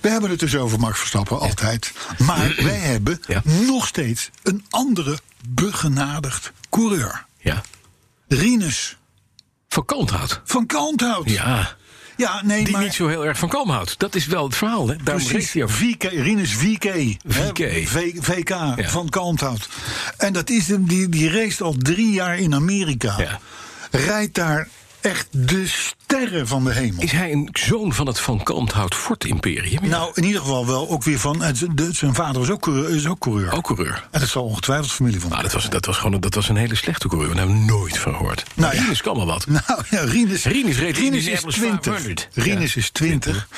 D: we hebben het dus over Max Verstappen, altijd. Maar wij hebben
C: Ja.
D: nog steeds een andere begenadigd coureur.
C: Ja.
D: Rinus
C: Van kalm houdt.
D: van Kalmthout.
C: Ja.
D: Ja, nee,
C: Die
D: maar...
C: niet zo heel erg van kalm houdt. Dat is wel het verhaal, hè? Daarom reed
D: Precies,
C: hij over.
D: VK, Rinus VK. hè,
C: VK.
D: V- VK van Kalmthout. En dat is hem, die, die race al drie jaar in Amerika.
C: Ja.
D: Rijdt daar echt de sterren van de hemel.
C: Is hij een zoon van het Van Kalmthout Fort-imperium?
D: Nou, in ieder geval wel ook weer van. en z- de- zijn vader is ook coureur. Is ook coureur.
C: Ook coureur.
D: En dat zal ongetwijfeld familie van.
C: Nou, dat was, dat was gewoon een, dat was een hele slechte coureur. Daar hebben we nooit van gehoord.
D: Nou ja.
C: Rinus kan wel wat.
D: Nou ja, Rinus,
C: Rinus reed
D: is
C: Indianapolis
D: 20.
C: 500.
D: Rinus is 20.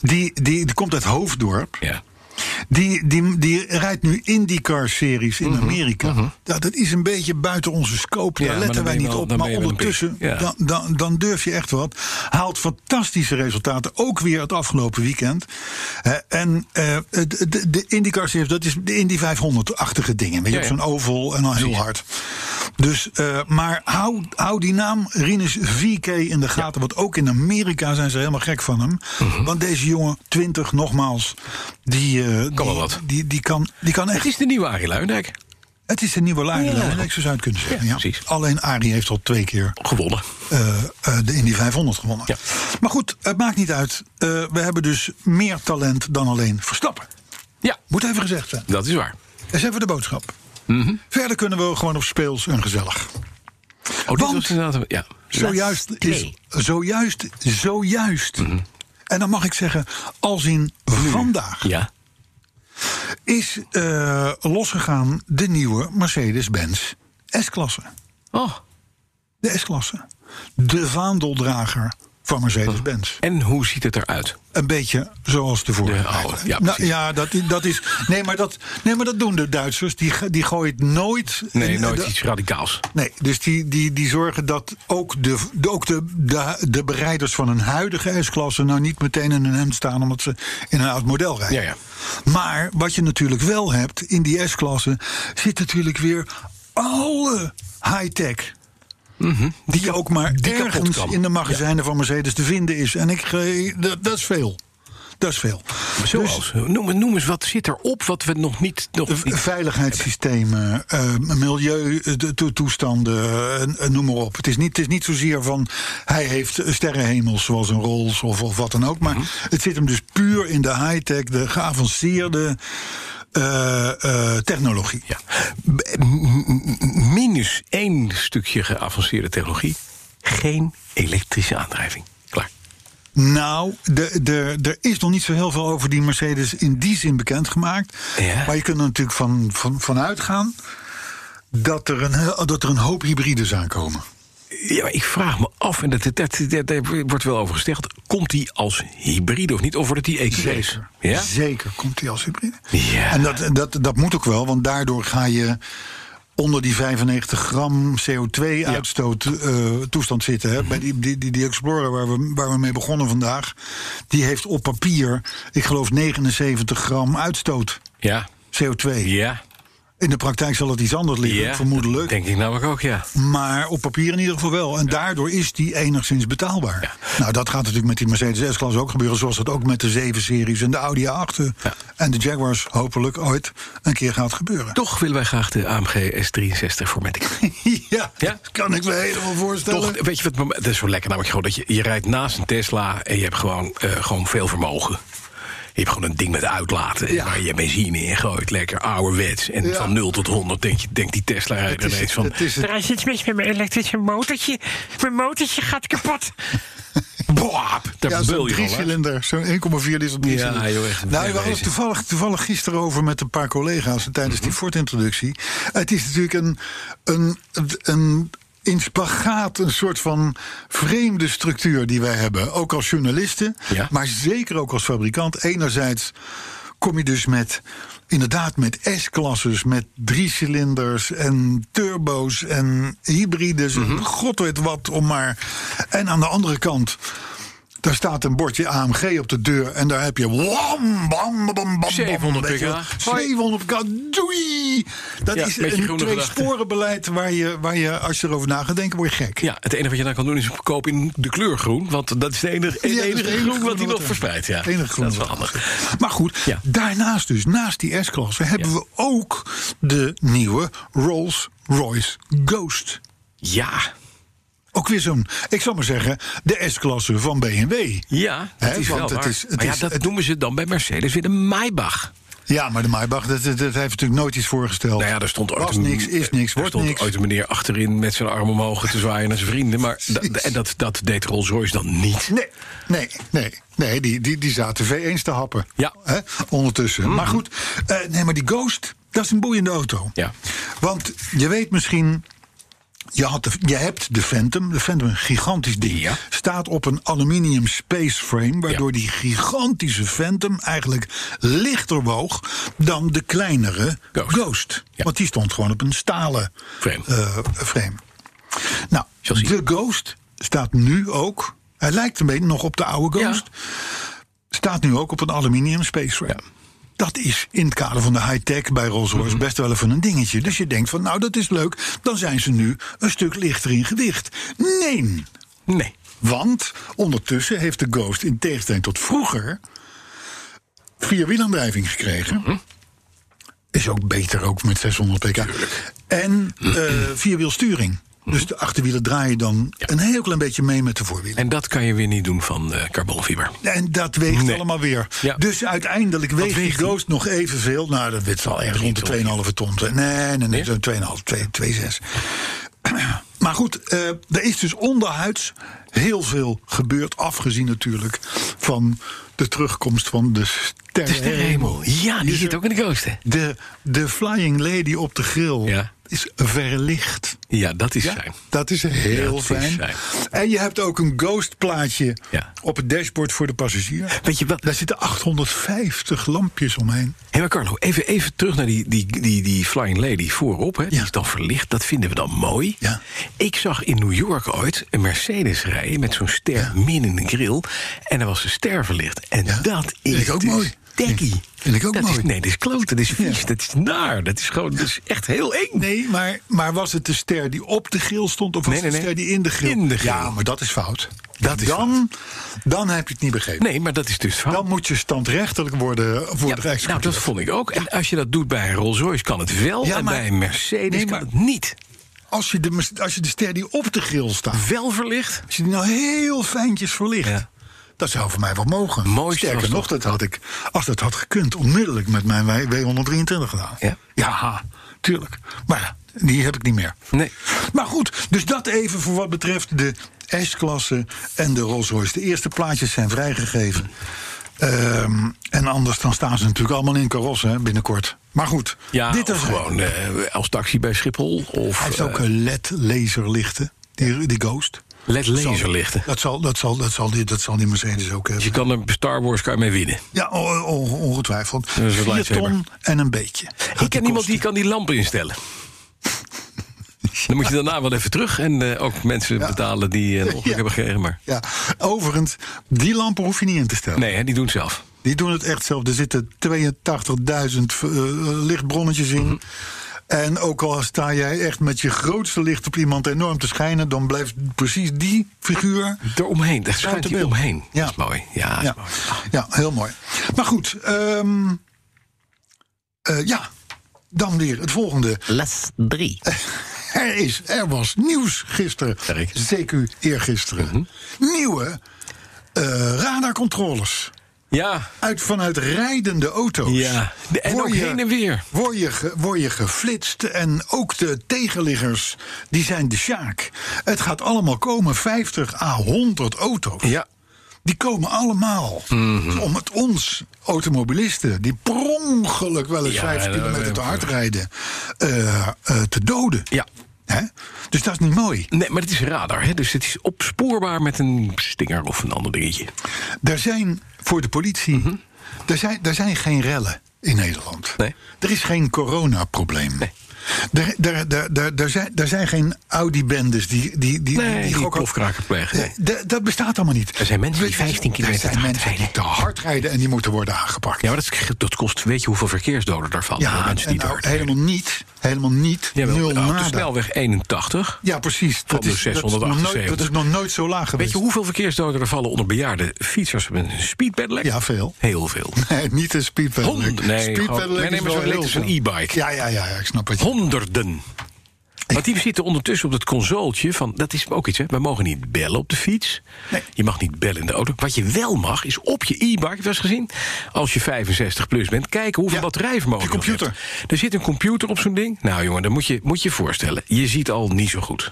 D: Die, die, die komt uit Hoofddorp.
C: Ja.
D: Die, die, die rijdt nu IndyCar-series in Amerika. Ja, dat is een beetje buiten onze
C: Mhm,
D: scope.
C: Ja,
D: Daar
C: maar
D: letten
C: dan
D: wij
C: ben je
D: niet
C: wel-
D: op.
C: dan
D: Maar
C: ben je wel een
D: ondertussen,
C: beetje- ja.
D: dan, dan, dan durf je echt wat. Haalt fantastische resultaten. Ook weer het afgelopen weekend. Hè, en eh, de, de- de IndyCar-series, dat is de Indy 500-achtige dingen. Weet je,
C: Ja,
D: op
C: ja.
D: zo'n oval en dan heel hard. Dus, eh, maar hou, hou die naam Rinus VK in de gaten. Want ook in Amerika zijn ze helemaal gek van hem.
C: Mhm.
D: Want deze jongen, 20 nogmaals, die, eh,
C: Kan wel
D: die-
C: wat.
D: Die, die, kan, die kan
C: Het
D: echt.
C: is de nieuwe Arie Luijendijk.
D: Het is een nieuwe Lari,
C: Ja.
D: ja. ik zo zou het kunnen zeggen.
C: Ja,
D: Ja,
C: precies.
D: Alleen Arie heeft al twee keer
C: Gewonnen.
D: eh, eh, de Indy 500 gewonnen.
C: Ja.
D: Maar goed, het maakt niet uit. Eh, we hebben dus meer talent dan alleen Verstappen.
C: Ja,
D: Moet even gezegd zijn.
C: dat is waar.
D: Dat is even de boodschap.
C: Mhm.
D: Verder kunnen we gewoon op speels en gezellig.
C: Oh, dit
D: Want-
C: was inderdaad... een- Ja.
D: Zojuist is.
E: twee.
D: Zojuist, zojuist.
C: Mhm.
D: En dan mag ik zeggen, als in vandaag
C: Ja.
D: is eh, losgegaan de nieuwe Mercedes-Benz S-klasse.
C: Oh.
D: De S-klasse. De vaandeldrager van Mercedes-Benz.
C: En hoe ziet het eruit?
D: Een beetje zoals de vorige.
C: De oude, ja,
D: nou,
C: precies.
D: ja dat, i- dat is. Nee maar dat, nee, maar dat doen de Duitsers. Die, ge- die gooien het nooit.
C: Nee,
D: en- eh,
C: nooit
D: de-
C: iets radicaals.
D: Nee, dus die, die, die zorgen dat ook, de, de, ook de, de, de bereiders van een huidige S-klasse nou niet meteen in hun hemd staan omdat ze in een oud model rijden.
C: Ja, ja.
D: Maar wat je natuurlijk wel hebt in die S-klasse zit natuurlijk weer alle high-tech. Die, ook maar
C: Mhm. die kapot
D: ergens
C: kan.
D: in de magazijnen van Mercedes te vinden is. En ik, ge- dat, dat is veel. Dat is veel. Dus
C: Zoals, noem, noem eens wat zit erop wat we nog niet... Nog
D: V-
C: niet
D: Veiligheidssystemen, eh milieutoestanden, eh, noem maar op. Het is, niet, het is niet zozeer van hij heeft sterrenhemels zoals een Rolls of, of wat dan ook. Maar het zit hem dus puur in de high-tech, de geavanceerde eh, eh, technologie.
C: ja. B- m-
D: eh,
C: m- Minus één stukje geavanceerde technologie. Geen elektrische aandrijving. Klaar.
D: Nou, de, de, er is nog niet zo heel veel over die Mercedes in die zin bekendgemaakt.
C: Ja.
D: Maar je kunt er natuurlijk van, van, van uitgaan dat er, een, heel- dat er een hoop hybrides aankomen.
C: Ja, maar ik vraag me af, en dat, dat, dat- daar wordt wel over gesteld... komt die als hybride of niet? Of wordt het die EQ's?
D: Zeker.
C: Ja?
D: Zeker komt hij als hybride.
C: Ja.
D: En dat, dat, dat moet ook wel, want daardoor ga je onder die 95 gram CO2-uitstoot eh, toestand zitten. Hè? Bij die, die, die, die Explorer waar we, waar we mee begonnen vandaag... die heeft op papier, ik geloof, 79 gram uitstoot
C: Ja.
D: CO2.
C: Ja.
D: In de praktijk zal het iets anders liggen,
C: Ja.
D: vermoedelijk.
C: Denk ik namelijk ook, ja.
D: Maar op papier in ieder geval wel. En daardoor is die enigszins betaalbaar. Nou, dat gaat natuurlijk met die Mercedes S-klasse ook gebeuren. Zoals dat ook met de 7-series en de Audi A8. En de Jaguars hopelijk ooit een keer gaat gebeuren.
C: Toch willen wij graag de AMG S63 Formatic.
D: ja,
C: Ja?
D: dat kan ik me helemaal voorstellen.
C: Toch, weet je wat? het moment- Dat is zo lekker namelijk gewoon dat je, je rijdt naast een Tesla en je hebt gewoon, eh, gewoon veel vermogen. Je hebt gewoon een ding met uitlaten
D: Ja.
C: waar je benzine in gooit. Lekker ouderwets. En
D: Ja.
C: van 0 tot 100 denk je, denkt die Tesla rijder
D: Het is-
C: ineens van...
D: het is het-
F: Er is iets mis met mijn elektrische motortje. Mijn motortje gaat kapot.
C: Boap, daar
D: Ja,
C: beul
D: zo'n
C: je van. hè?
D: driecilinder, zo'n 1,4 liter driecilinder.
C: joh, echt
D: nou, we hadden het
C: wegwezen.
D: toevallig, toevallig gisteren over met een paar collega's eh, tijdens
C: Mhm.
D: die Ford-introductie. Het is natuurlijk een, een, een in spagaat, een soort van vreemde structuur die wij hebben. Ook als journalisten,
C: Ja.
D: maar zeker ook als fabrikant. Enerzijds kom je dus met... Inderdaad, met S-klasses, met driecilinders en turbo's
C: Mhm.
D: en hybrides. en God weet wat om maar. En aan de andere kant Daar staat een bordje AMG op de deur. En daar heb je. Wam, bam, bam, bam, bam,
C: 700
D: weet je wel.
C: pk.
D: 700 pk. Doei! Dat
C: Ja,
D: is
C: beetje
D: een
C: groene
D: twee
C: gedachte.
D: sporenbeleid waar je, waar je, als je erover na gaat denken, word je gek.
C: Ja, het enige wat je dan kan doen is koop in de kleur groen. Want dat is de enige, het
D: Ja, dat is
C: enige
D: het enige
C: groen wat hij
D: groene
C: nog
D: er-
C: verspreidt. Ja.
D: het enige groene
C: dat is wel
D: wat er
C: handig.
D: Maar goed,
C: Ja.
D: daarnaast dus, naast die S-klasse, hebben
C: Ja.
D: we ook de nieuwe Rolls-Royce Ghost.
C: Ja,
D: Ook weer zo'n, ik zal maar zeggen, de S-klasse van BMW.
C: ja dat
D: Hè,
C: is wel
D: want het
C: waar.
D: is- het
C: maar ja,
D: is-
C: dat
D: het-
C: noemen ze dan bij Mercedes weer een Maybach.
D: Ja, maar de Maybach, dat, dat, dat heeft natuurlijk nooit iets voorgesteld.
C: Nou ja, daar stond ooit
D: Was
C: een-
D: niks, is
C: daar
D: niks, wordt
C: stond
D: niks.
C: ooit een meneer achterin met zijn arm omhoog te zwaaien naar zijn vrienden. Maar da-
D: Precies.
C: en dat, dat deed Rolls-Royce dan niet.
D: Nee, nee, nee. Nee, die, die, die zaten V1's te happen.
C: Ja. Mm.
D: Hè, ondertussen. Maar goed, eh, nee, maar die Ghost, dat is een boeiende auto.
C: Ja.
D: Want je weet misschien... Je, had de, je hebt de Phantom. De Phantom, een gigantisch ding.
C: Ja.
D: Staat op een aluminium space frame. Waardoor
C: Ja.
D: die gigantische Phantom eigenlijk lichter woog dan de kleinere
C: Ghost.
D: Ghost.
C: Ja.
D: Want die stond gewoon op een stalen
C: Frame.
D: eh, frame. Nou,
C: Zal zien.
D: de Ghost staat nu ook. Hij lijkt een beetje nog op de oude
C: Ja.
D: Ghost. Staat nu ook op een aluminium spaceframe. Dat is in het kader van de high-tech bij Rolls-Royce best wel even een dingetje. Dus je denkt van, nou dat is leuk, dan zijn ze nu een stuk lichter in gewicht. Nee,
C: Nee.
D: want ondertussen heeft de Ghost in tegenstelling tot vroeger vierwielaandrijving gekregen. Is ook beter ook met 600 pk. En eh vierwielsturing. Dus de achterwielen draaien dan een heel klein beetje mee met de voorwielen.
C: En dat kan je weer niet doen van eh carbonfiber.
D: En dat weegt
C: Nee.
D: allemaal weer.
C: Ja.
D: Dus uiteindelijk weegt die Ghost nog evenveel. Nou, dat dit zal ergens rond
C: Niet
D: de 2,5 ton zijn. Nee, nee, nee,
C: Nee?
D: zo'n 2,5, 2, 2,6. Maar goed, eh, er is dus onderhuids heel veel gebeurd. Afgezien natuurlijk van de terugkomst van de sterrenhemel.
C: Ja, die
D: Hier
C: zit
D: zo-
C: ook in de ghost, hè?
D: De, de Flying Lady op de grill
C: Ja.
D: is verlicht.
C: Ja, dat is fijn.
D: Dat is heel
C: Dat is
D: fijn.
C: fijn.
D: En je hebt ook een ghost plaatje
C: Ja.
D: op het dashboard voor de passagier.
C: Weet je wat?
D: Daar zitten 850 lampjes omheen.
C: Hé, maar Carlo, even, even terug naar die, die, die, die Flying Lady voorop. Hè. Die
D: Ja.
C: is dan verlicht, dat vinden we dan mooi.
D: Ja.
C: Ik zag in New York ooit een Mercedes rijden met zo'n ster midden in de grill. En er was de ster verlicht. En
D: Ja.
C: dat is
D: Vind ik ook
C: dus
D: mooi.
C: Dekkie.
D: Vind- vind ik ook
C: dat Is,
D: mooi.
C: nee, dat is kloten, dat is vies, dat is naar. Dat is gewoon dat is echt heel eng.
D: Nee, maar, maar was het de ster die op de grill stond of was
C: Nee, nee,
D: het de
C: nee.
D: ster die in de grill?
C: In de grill.
D: Ja, maar dat is fout.
C: Dat is
D: dan, dan heb je het niet begrepen.
C: Nee, maar dat is dus fout.
D: Dan moet je standrechtelijk worden voor
C: Ja,
D: de
C: nou,
D: Rijkscultuur.
C: dat vond ik ook. En als je dat doet bij een Rolls-Royce kan het wel.
D: Ja,
C: en
D: maar-
C: bij een Mercedes
D: Nee,
C: kan
D: maar-
C: het niet.
D: als, je de, mes- als je de ster die op de grill staat,
C: Wel verlicht.
D: als je die nou heel fijntjes verlicht.
C: Ja.
D: Dat zou voor mij wel mogen.
C: Mooiste was
D: Sterker nog,
C: toch-
D: dat had ik, als dat had gekund, onmiddellijk met mijn W- W123 gedaan.
C: Ja.
D: ja tuurlijk. Maar ja, die heb ik niet meer.
C: Nee.
D: Maar goed, dus dat even voor wat betreft de S-klasse en de Rolls-Royce. De eerste plaatjes zijn vrijgegeven. Ehm, en anders dan staan ze natuurlijk allemaal in karossen hè, binnenkort. Maar goed,
C: Ja,
D: dit
C: of
D: is
C: gewoon eh, als taxi bij Schiphol. Of
D: Hij heeft
C: eh,
D: ook een LED-laserlichten, die, die Ghost.
C: led laserlichten.
D: Dat zal, dat, zal, dat, zal die, dat zal die Mercedes ook hebben.
C: Je kan er Star Wars kan je mee winnen.
D: Ja, o- o- ongetwijfeld.
C: een
D: Vier
C: lightsaber.
D: ton en een beetje.
C: Ik ken iemand die kan die lampen instellen. Dan moet je daarna wel even terug. En eh, ook mensen betalen die eh, een ongeluk
D: Ja.
C: hebben gekregen. Maar
D: Ja, overigens, die lampen hoef je niet in te stellen.
C: nee, hè, die doen het zelf.
D: Die doen het echt zelf. Er zitten 82.000 eh, lichtbronnetjes in.
C: Mhm.
D: En ook al sta jij echt met je grootste licht op iemand enorm te schijnen... dan blijft precies die figuur...
C: Eromheen, daar schijnt
D: Buiten
C: hij
D: beeld.
C: omheen.
D: Ja.
C: Dat is mooi. Ja, dat
D: Ja,
C: is mooi.
D: ja heel mooi. Maar goed, ehm, eh, ja, dan weer het volgende.
E: Les 3.
D: Er, is, er was nieuws gisteren.
C: Erik. Mhm.
D: Zeker eergisteren. Nieuwe eh, radarcontroles.
C: ja.
D: Uit, vanuit rijdende auto's.
C: Ja, Oh, de- en
D: Word
C: ook heen en weer.
D: Word je, ge- word je geflitst en ook de tegenliggers, die zijn de sjaak. Het gaat allemaal komen, 50 à 100 auto's.
C: Ja.
D: Die komen allemaal
C: Mhm.
D: om het ons, automobilisten... die per ongeluk wel eens
C: Ja,
D: 5
C: eh,
D: kilometer te
C: eh,
D: hard rijden... eh, eh, te doden.
C: Ja.
D: Hè? Dus dat is niet mooi.
C: Nee, maar het is radar. Hè? Dus het is opspoorbaar met een stinger of een ander dingetje.
D: Er zijn voor de politie.
C: Mhm.
D: er, zijn, er zijn geen rellen in Nederland.
C: Nee.
D: Er is geen coronaprobleem.
C: Nee.
D: Er, er, er, er, er zijn, er zijn geen Audi-bendes die, die, die,
C: Nee, die
D: gokken- Eh,
C: plofkraken plegen, nee.
D: D- dat bestaat allemaal niet.
C: Er zijn mensen die 15
D: Er
C: kilometer te
D: zijn
C: hard
D: mensen die te
C: rijden.
D: hard rijden en die moeten worden aangepakt.
C: Ja, maar dat, is- dat kost, weet je hoeveel verkeersdoden daarvan?
D: Ja,
C: mensen die
D: en nou,
C: daar-
D: helemaal niet. Helemaal niet.
C: Jawel,
D: nul
C: nou, op de
D: nada.
C: snelweg 81.
D: Ja, precies.
C: Van
D: Dat
C: de
D: is, dat, is nog nooit,
C: 678.
D: dat is nog nooit zo laag
C: Weet
D: geweest.
C: je hoeveel verkeersdoden er vallen onder bejaarden fietsers met een speedpedelec?
D: Ja, veel.
C: Heel veel.
D: Nee, niet een speedpedelec.
C: Honderd- nee, gewoon- nee, nee, maar zo'n
D: heel
C: elektrische
D: veel.
C: e-bike.
D: Ja, ja, ja, ja, ik snap het.
C: Honderden. Want die zitten ondertussen op het consooltje van... dat is ook iets, hè? We mogen niet bellen op de fiets.
D: Nee.
C: Je mag niet bellen in de auto. Wat je wel mag, is op je e-bike, heb je wel eens gezien... als je 65 plus bent, kijken hoeveel
D: Ja,
C: batterijvermogen
D: je
C: nog
D: computer.
C: hebt. Er zit een computer op zo'n ding. Nou jongen, dat moet je moet je voorstellen. Je ziet al niet zo goed.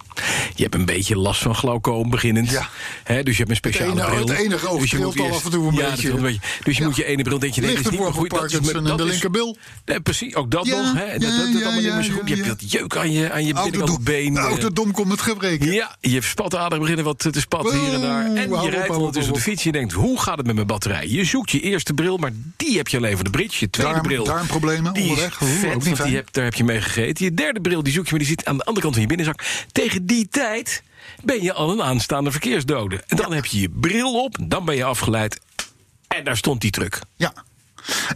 C: Je hebt een beetje last van glaucoom beginnend.
D: Ja.
C: Hè, dus je hebt een speciale
D: ene-
C: bril. Dus
D: het ene oog
C: je
D: trilt
C: moet
D: al
C: eerst-
D: af en toe een
C: ja, dat
D: beetje.
C: trilt een Dus je
D: Ja.
C: moet je ene bril denk je... Nee, dat is niet meer
D: Lichtenborg
C: goed. Dat is me-
D: Parkinson en
C: dat
D: de
C: is-
D: linkerbil.
C: Nee, precies, ook dat
D: Ja,
C: nog. Hè? Dat,
D: ja,
C: dat, dat
D: ja,
C: allemaal niet meer
D: ja,
C: zo goed. Je
D: ja,
C: hebt
D: ja.
C: dat jeuk aan je, aan je
D: Autodom,
C: binnenkantbeen. eh,
D: autodom komt met gebreken.
C: ja, je spataderen beginnen wat te spatten hier en daar.
D: Oeh,
C: En
D: hou
C: je
D: op, hou
C: rijdt
D: op,
C: ondertussen op
D: hou
C: de
D: op.
C: fiets. Je denkt, hoe gaat het met mijn batterij? Je zoekt je eerste bril, maar die heb je alleen voor de bridge. Je tweede
D: Darm-
C: bril,
D: darmproblemen
C: die is
D: onderweg. Oeh, ook
C: vet,
D: niet
C: want die
D: fijn.
C: heb, daar heb je mee gegeten. Je derde bril, die zoek je, maar die zit aan de andere kant van je binnenzak. Tegen die tijd ben je al een aanstaande verkeersdode. En dan heb je je bril op, dan ben je afgeleid. En daar stond die truck.
D: Ja.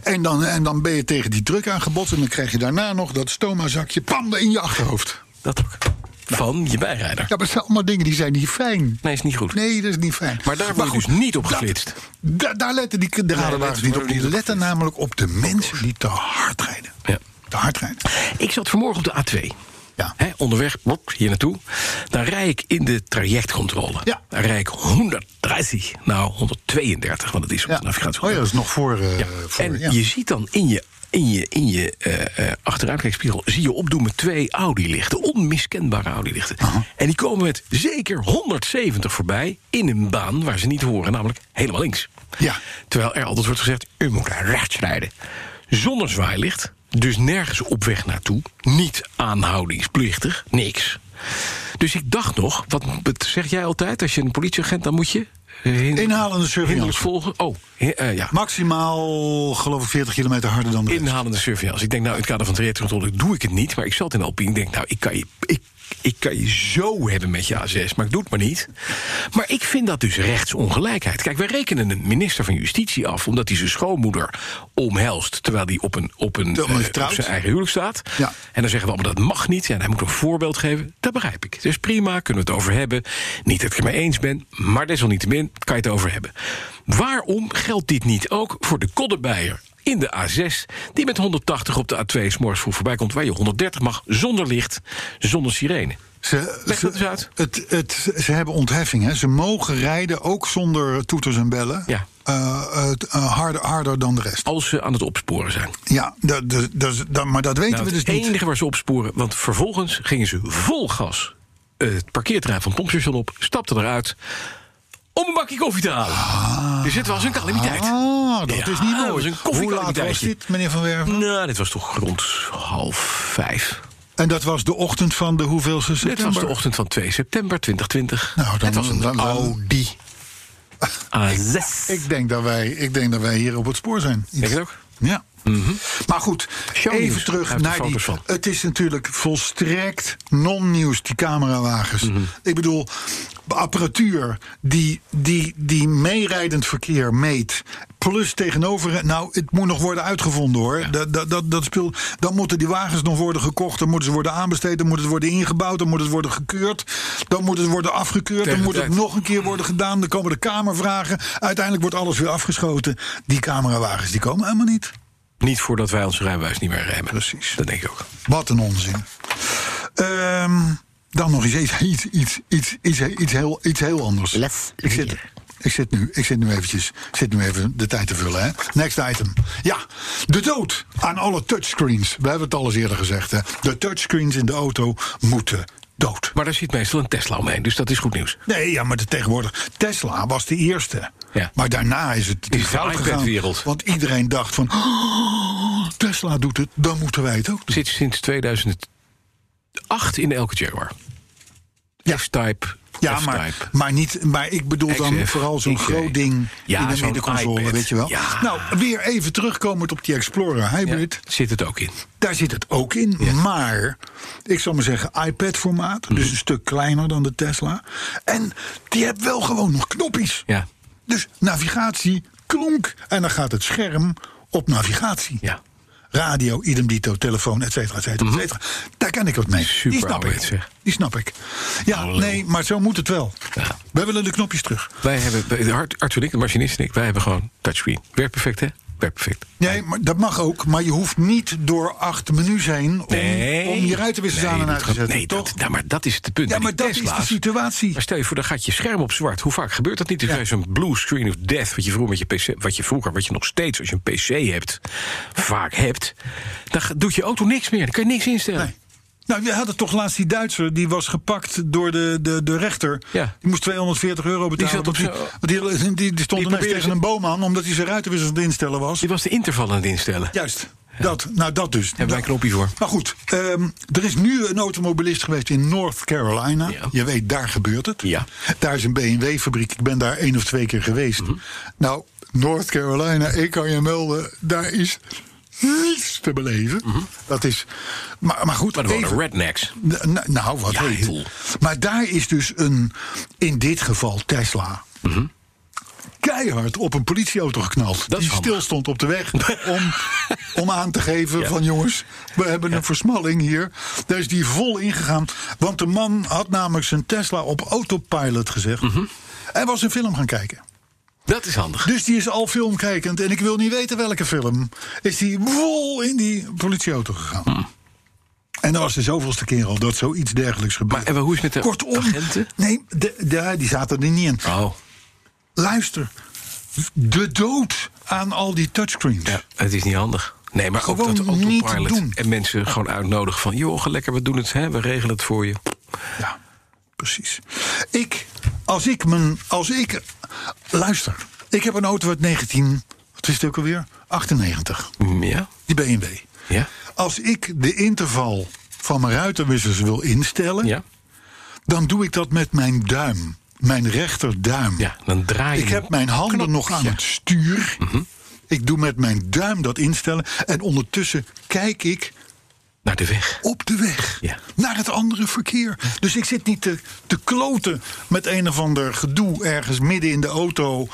D: En dan, en dan ben je tegen die druk aangebotst. En dan krijg je daarna nog dat stomazakje pam in je achterhoofd.
C: Dat ook. Van je bijrijder.
D: Ja, maar het zijn allemaal dingen die zijn niet fijn.
C: Nee, is niet goed.
D: Nee, dat is niet fijn.
C: Maar daar word je dus niet op geflitst.
D: Dat, da- daar letten die de radarwagens
C: letten
D: niet op.
C: we niet
D: Die
C: op
D: letten namelijk op de mensen die te hard rijden.
C: Ja.
D: Te hard rijden.
C: Ik zat vanmorgen op de A2.
D: Ja.
C: Hè, onderweg, wop, hier naartoe. Dan rij ik in de trajectcontrole.
D: Ja.
C: Dan rij ik 130, nou 132, want het is op
D: Ja.
C: de navigatie.
D: Oh ja, dat is nog voor. eh,
C: Ja.
D: voor
C: en
D: ja.
C: je ziet dan in je, in je, in je eh, eh, achteruitkijkspiegel... zie je opdoemen twee Audi-lichten, onmiskenbare Audi-lichten. En die komen met zeker 170 voorbij... in een baan waar ze niet horen, namelijk helemaal links.
D: Ja.
C: Terwijl er altijd wordt gezegd, u moet naar rechts rijden. Zonder zwaailicht, dus nergens op weg naartoe. Niet aanhoudingsplichtig, niks. Dus ik dacht nog, wat zeg jij altijd... als je een politieagent, dan moet je... eh, hin-
D: Inhalende
C: hinderlijk
D: surveillance.
C: volgen. Oh, he- eh, ja.
D: Maximaal, geloof ik, 40 kilometer harder dan de rest.
C: Inhalende surveillance. Ik denk, nou, in het kader van trajectcontrole doe ik het niet. Maar ik zat in Alpine. Ik denk, nou, ik kan je, ik, ik kan je zo hebben met je A6. Maar ik doe het maar niet. Maar ik vind dat dus rechtsongelijkheid. Kijk, wij rekenen een minister van Justitie af... omdat hij zijn schoonmoeder omhelst... terwijl hij op, een, op, een,
D: Terwijl hij
C: eh, op
D: trouwt.
C: zijn eigen huwelijk staat.
D: Ja.
C: En dan zeggen we allemaal, dat mag niet. En hij moet een voorbeeld geven. Dat begrijp ik. Dus prima, kunnen we het over hebben. Niet dat ik het mee eens ben, maar desalniettemin kan je het over hebben. Waarom geldt dit niet ook voor de koddebeier in de A6... die met 180 op de A2 s'morgens vroeg voorbij komt... waar je 130 mag, zonder licht, zonder sirene.
D: Ze,
C: Leg dat eens uit.
D: Het, het, ze hebben ontheffing. Hè. Ze mogen rijden, ook zonder toeters en bellen,
C: Ja. Oh.
D: eh, het, eh, harder, harder dan de rest.
C: Als ze aan het opsporen zijn.
D: Ja, dat, dat, dat, dat- maar dat weten
C: Nou,
D: we dus
C: het
D: niet.
C: enige waar ze opsporen, want vervolgens gingen ze vol gas... eh, het parkeerterrein van het pompstation op, stapten eruit... om een bakje koffie te halen. Dus het was een calamiteit.
D: Ah, dat
C: Ja,
D: is niet
C: dat is
D: mooi.
C: een
D: Hoe laat was
C: koffiekalenteitje.
D: dit, meneer Van Werven?
C: Nou, dit was toch rond half vijf.
D: En dat was de ochtend van de hoeveelste september?
C: Dit was de ochtend van 2 september 2020.
D: Nou, dan-
C: het was een
D: dan- dan-
C: Audi A6.
D: Ik denk, dat wij, ik denk dat wij hier op het spoor zijn.
C: Denk je het ook? Mhm.
D: Ja. Maar goed, even
C: nieuws. Hij
D: terug
C: heeft er
D: naar die...
C: foto's van.
D: Het is natuurlijk volstrekt non-nieuws, die camerawagens.
C: Mhm.
D: Ik bedoel, apparatuur die, die, die meerijdend verkeer meet... plus tegenover... Nou, het moet nog worden uitgevonden, hoor. Dat, dat, dat, dat speel, dan moeten die wagens nog worden gekocht... dan moeten ze worden aanbesteed, dan moet het worden ingebouwd... dan moet het worden gekeurd, dan moet het worden afgekeurd...
C: Tegen
D: dan moet
C: de
D: het
C: tijd.
D: nog een keer worden gedaan... dan komen de Kamervragen, uiteindelijk wordt alles weer afgeschoten. Die camerawagens, die komen helemaal niet.
C: Niet voordat wij onze rijbewijs niet meer remmen.
D: Precies.
C: Dat denk ik ook.
D: Wat een onzin. Ehm, dan nog eens iets, iets, iets, iets, iets, iets, heel, iets heel anders.
E: Les
D: ik, zit,
E: leren.
D: ik, zit nu, ik zit nu eventjes ik zit nu even de tijd te vullen. Hè? Next item. Ja, de dood aan alle touchscreens. We hebben het al eens eerder gezegd. Hè? De touchscreens in de auto moeten dood.
C: Maar daar zit meestal een Tesla omheen, dus dat is goed nieuws.
D: Nee, ja, maar de, tegenwoordig. Tesla was de eerste.
C: Ja.
D: Maar daarna is het
C: Is de
D: fout gegaan.
C: iPad-wereld.
D: Want iedereen dacht van. "Oh, Tesla doet het, dan moeten wij het ook doen.
C: Zit sinds 2008 in elke Jaguar.
D: Ja.
C: S-Type,
D: Ja, maar,
E: F-Type.
D: maar, niet, maar ik bedoel dan
E: XF,
D: vooral zo'n
E: XJ.
D: groot ding
E: eh, Ja,
D: in de
E: zo'n
D: middenconsole,
E: iPad.
D: weet je wel.
E: Ja.
D: Nou, weer even terugkomend op die Explorer Hybrid.
C: Zit het ook in?
D: Daar zit het ook in, maar ik zal maar zeggen iPad-formaat.
C: Mhm.
D: Dus een stuk kleiner dan de Tesla. En die hebt wel gewoon nog knopjes.
C: Ja.
D: Dus navigatie, klonk. En dan gaat het scherm op navigatie.
C: Ja.
D: Radio, idem dito, telefoon, et cetera, et cetera, et cetera. Daar kan ik wat mee.
C: Super
D: Die snap ik.
C: ouderwets, zeg.
D: Die snap ik. Ja, nee, maar zo moet het wel.
C: Ja.
D: Wij willen de knopjes terug.
C: Wij hebben, bij de Art- Arthur en ik, de machinist en ik, wij hebben gewoon touchscreen. Werkt perfect, hè? Werkt perfect.
D: Nee, maar dat mag ook. Maar je hoeft niet door acht menus heen om, om je ruitenwissers
C: Nee,
D: aan en
C: dat
D: uit te
C: gaat-
D: zetten.
C: Nee,
D: toch?
C: dat, nou, maar dat is het punt.
D: ja,
C: bij die
D: maar dat is de
C: Tesla's.
D: situatie.
C: Maar stel je voor, dan gaat je scherm op zwart. Hoe vaak gebeurt dat niet? Er is zo'n blue screen of death, wat je vroeger met je PC, wat je vroeger, wat je nog steeds als je een PC hebt, vaak hebt. Dan ga- doet je auto niks meer. Dan kan je niks instellen.
D: Nee. Nou, we hadden toch laatst die Duitser, die was gepakt door de, de, de rechter.
C: Ja.
D: Die moest 240 euro betalen.
C: zat op
D: want die, want die, die, die stond
C: Die
D: ineens
C: probeerde
D: tegen
C: ze-
D: een boom aan, omdat hij zijn ruitenwissers aan het instellen was.
C: Je was de interval aan het instellen.
D: Juist, dat, nou dat dus.
C: Hebben wij een knopje voor.
D: Maar goed, ehm, er is nu een automobilist geweest in North Carolina.
C: Ja.
D: Je weet, daar gebeurt het.
C: Ja.
D: Daar is een BMW-fabriek. Ik ben daar één of twee keer geweest.
C: Mhm.
D: Nou, North Carolina, ik kan je melden, daar is niets te beleven. Dat is. Maar, maar goed,
C: Mhm. Maar dan
D: even-
C: worden rednecks.
D: N- n- Nou, wat
C: Ja,
D: weet je.
C: joh.
D: Maar daar is dus een, in dit geval Tesla. Keihard op een politieauto geknald.
C: Mhm. Dat is
D: die
C: handig.
D: stil stond op de weg. om, om aan te geven: van jongens, we hebben een versmalling hier. Daar is die vol ingegaan. Want de man had namelijk zijn Tesla op autopilot gezegd.
C: Mhm.
D: En was een film gaan kijken.
C: Dat is handig.
D: Dus die is al filmkijkend. En ik wil niet weten welke film. Is die vol in die politieauto gegaan.
C: Hmm.
D: En dat was de zoveelste keer al dat zoiets dergelijks gebeurt.
C: Maar en hoe is het met de
D: Kortom,
C: agenten?
D: Nee, de, de- die zaten er niet in.
C: Oh,
D: Luister. De dood aan al die touchscreens.
C: ja, het is niet handig. Nee, maar ook
D: Gewoon
C: dat
D: niet
C: autopilot
D: doen.
C: en mensen gewoon uitnodigen van... joh, ga lekker, we doen het, hè, we regelen het voor je.
D: Ja, precies. Ik, als ik mijn. Als ik. Luister. Ik heb een auto uit 19. Wat is het ook alweer? 98.
C: Mm, Ja,
D: Die BMW.
C: ja,
D: Als ik de interval van mijn ruitenwissers wil instellen,
C: ja.
D: dan doe ik dat met mijn duim. Mijn rechterduim.
C: ja dan draai je
D: ik
C: hem
D: heb mijn handen nog aan het stuur.
C: Mhm.
D: Ik doe met mijn duim dat instellen. En ondertussen kijk ik
C: naar de weg.
D: op de weg
C: Ja.
D: naar het andere verkeer. Dus ik zit niet te, te kloten met een of ander gedoe ergens midden in de auto.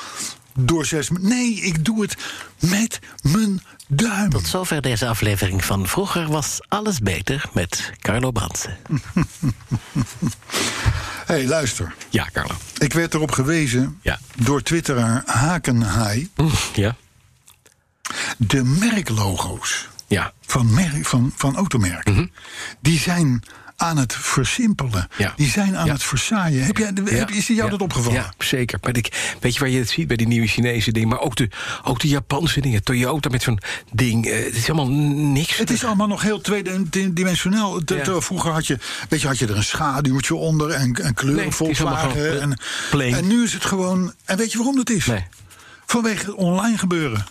D: Door zes. Nee, ik doe het met mijn duim.
E: Tot zover deze aflevering van Vroeger was alles beter met Carlo Brandsen.
D: Hé, hey, luister.
C: Ja, Carlo.
D: Ik werd erop gewezen
C: Ja.
D: door twitteraar Hakenhaai.
C: Ja,
D: De merklogo's
C: ja.
D: van, merk, van, van automerken...
C: Mhm.
D: die zijn aan het versimpelen.
C: Ja.
D: Die zijn aan
C: Ja.
D: het verzaaien. Heb jij,
C: Ja.
D: heb, is jou
C: Ja.
D: dat opgevallen?
C: Ja, zeker. Maar ik, weet je waar je het ziet bij die nieuwe Chinese dingen? Maar ook de, ook de Japanse dingen. Toyota met zo'n ding. eh, het is allemaal niks.
D: Het is allemaal nog heel tweedimensionaal. Het- het-
C: Ja.
D: Vroeger had je, weet je, had je er een schaduwtje onder en, en kleuren
C: Nee, het is allemaal
D: Volkswagen.
C: gewoon eh,
D: En,
C: plain.
D: en nu is het gewoon... En weet je waarom dat is?
C: Nee.
D: Vanwege het online gebeuren.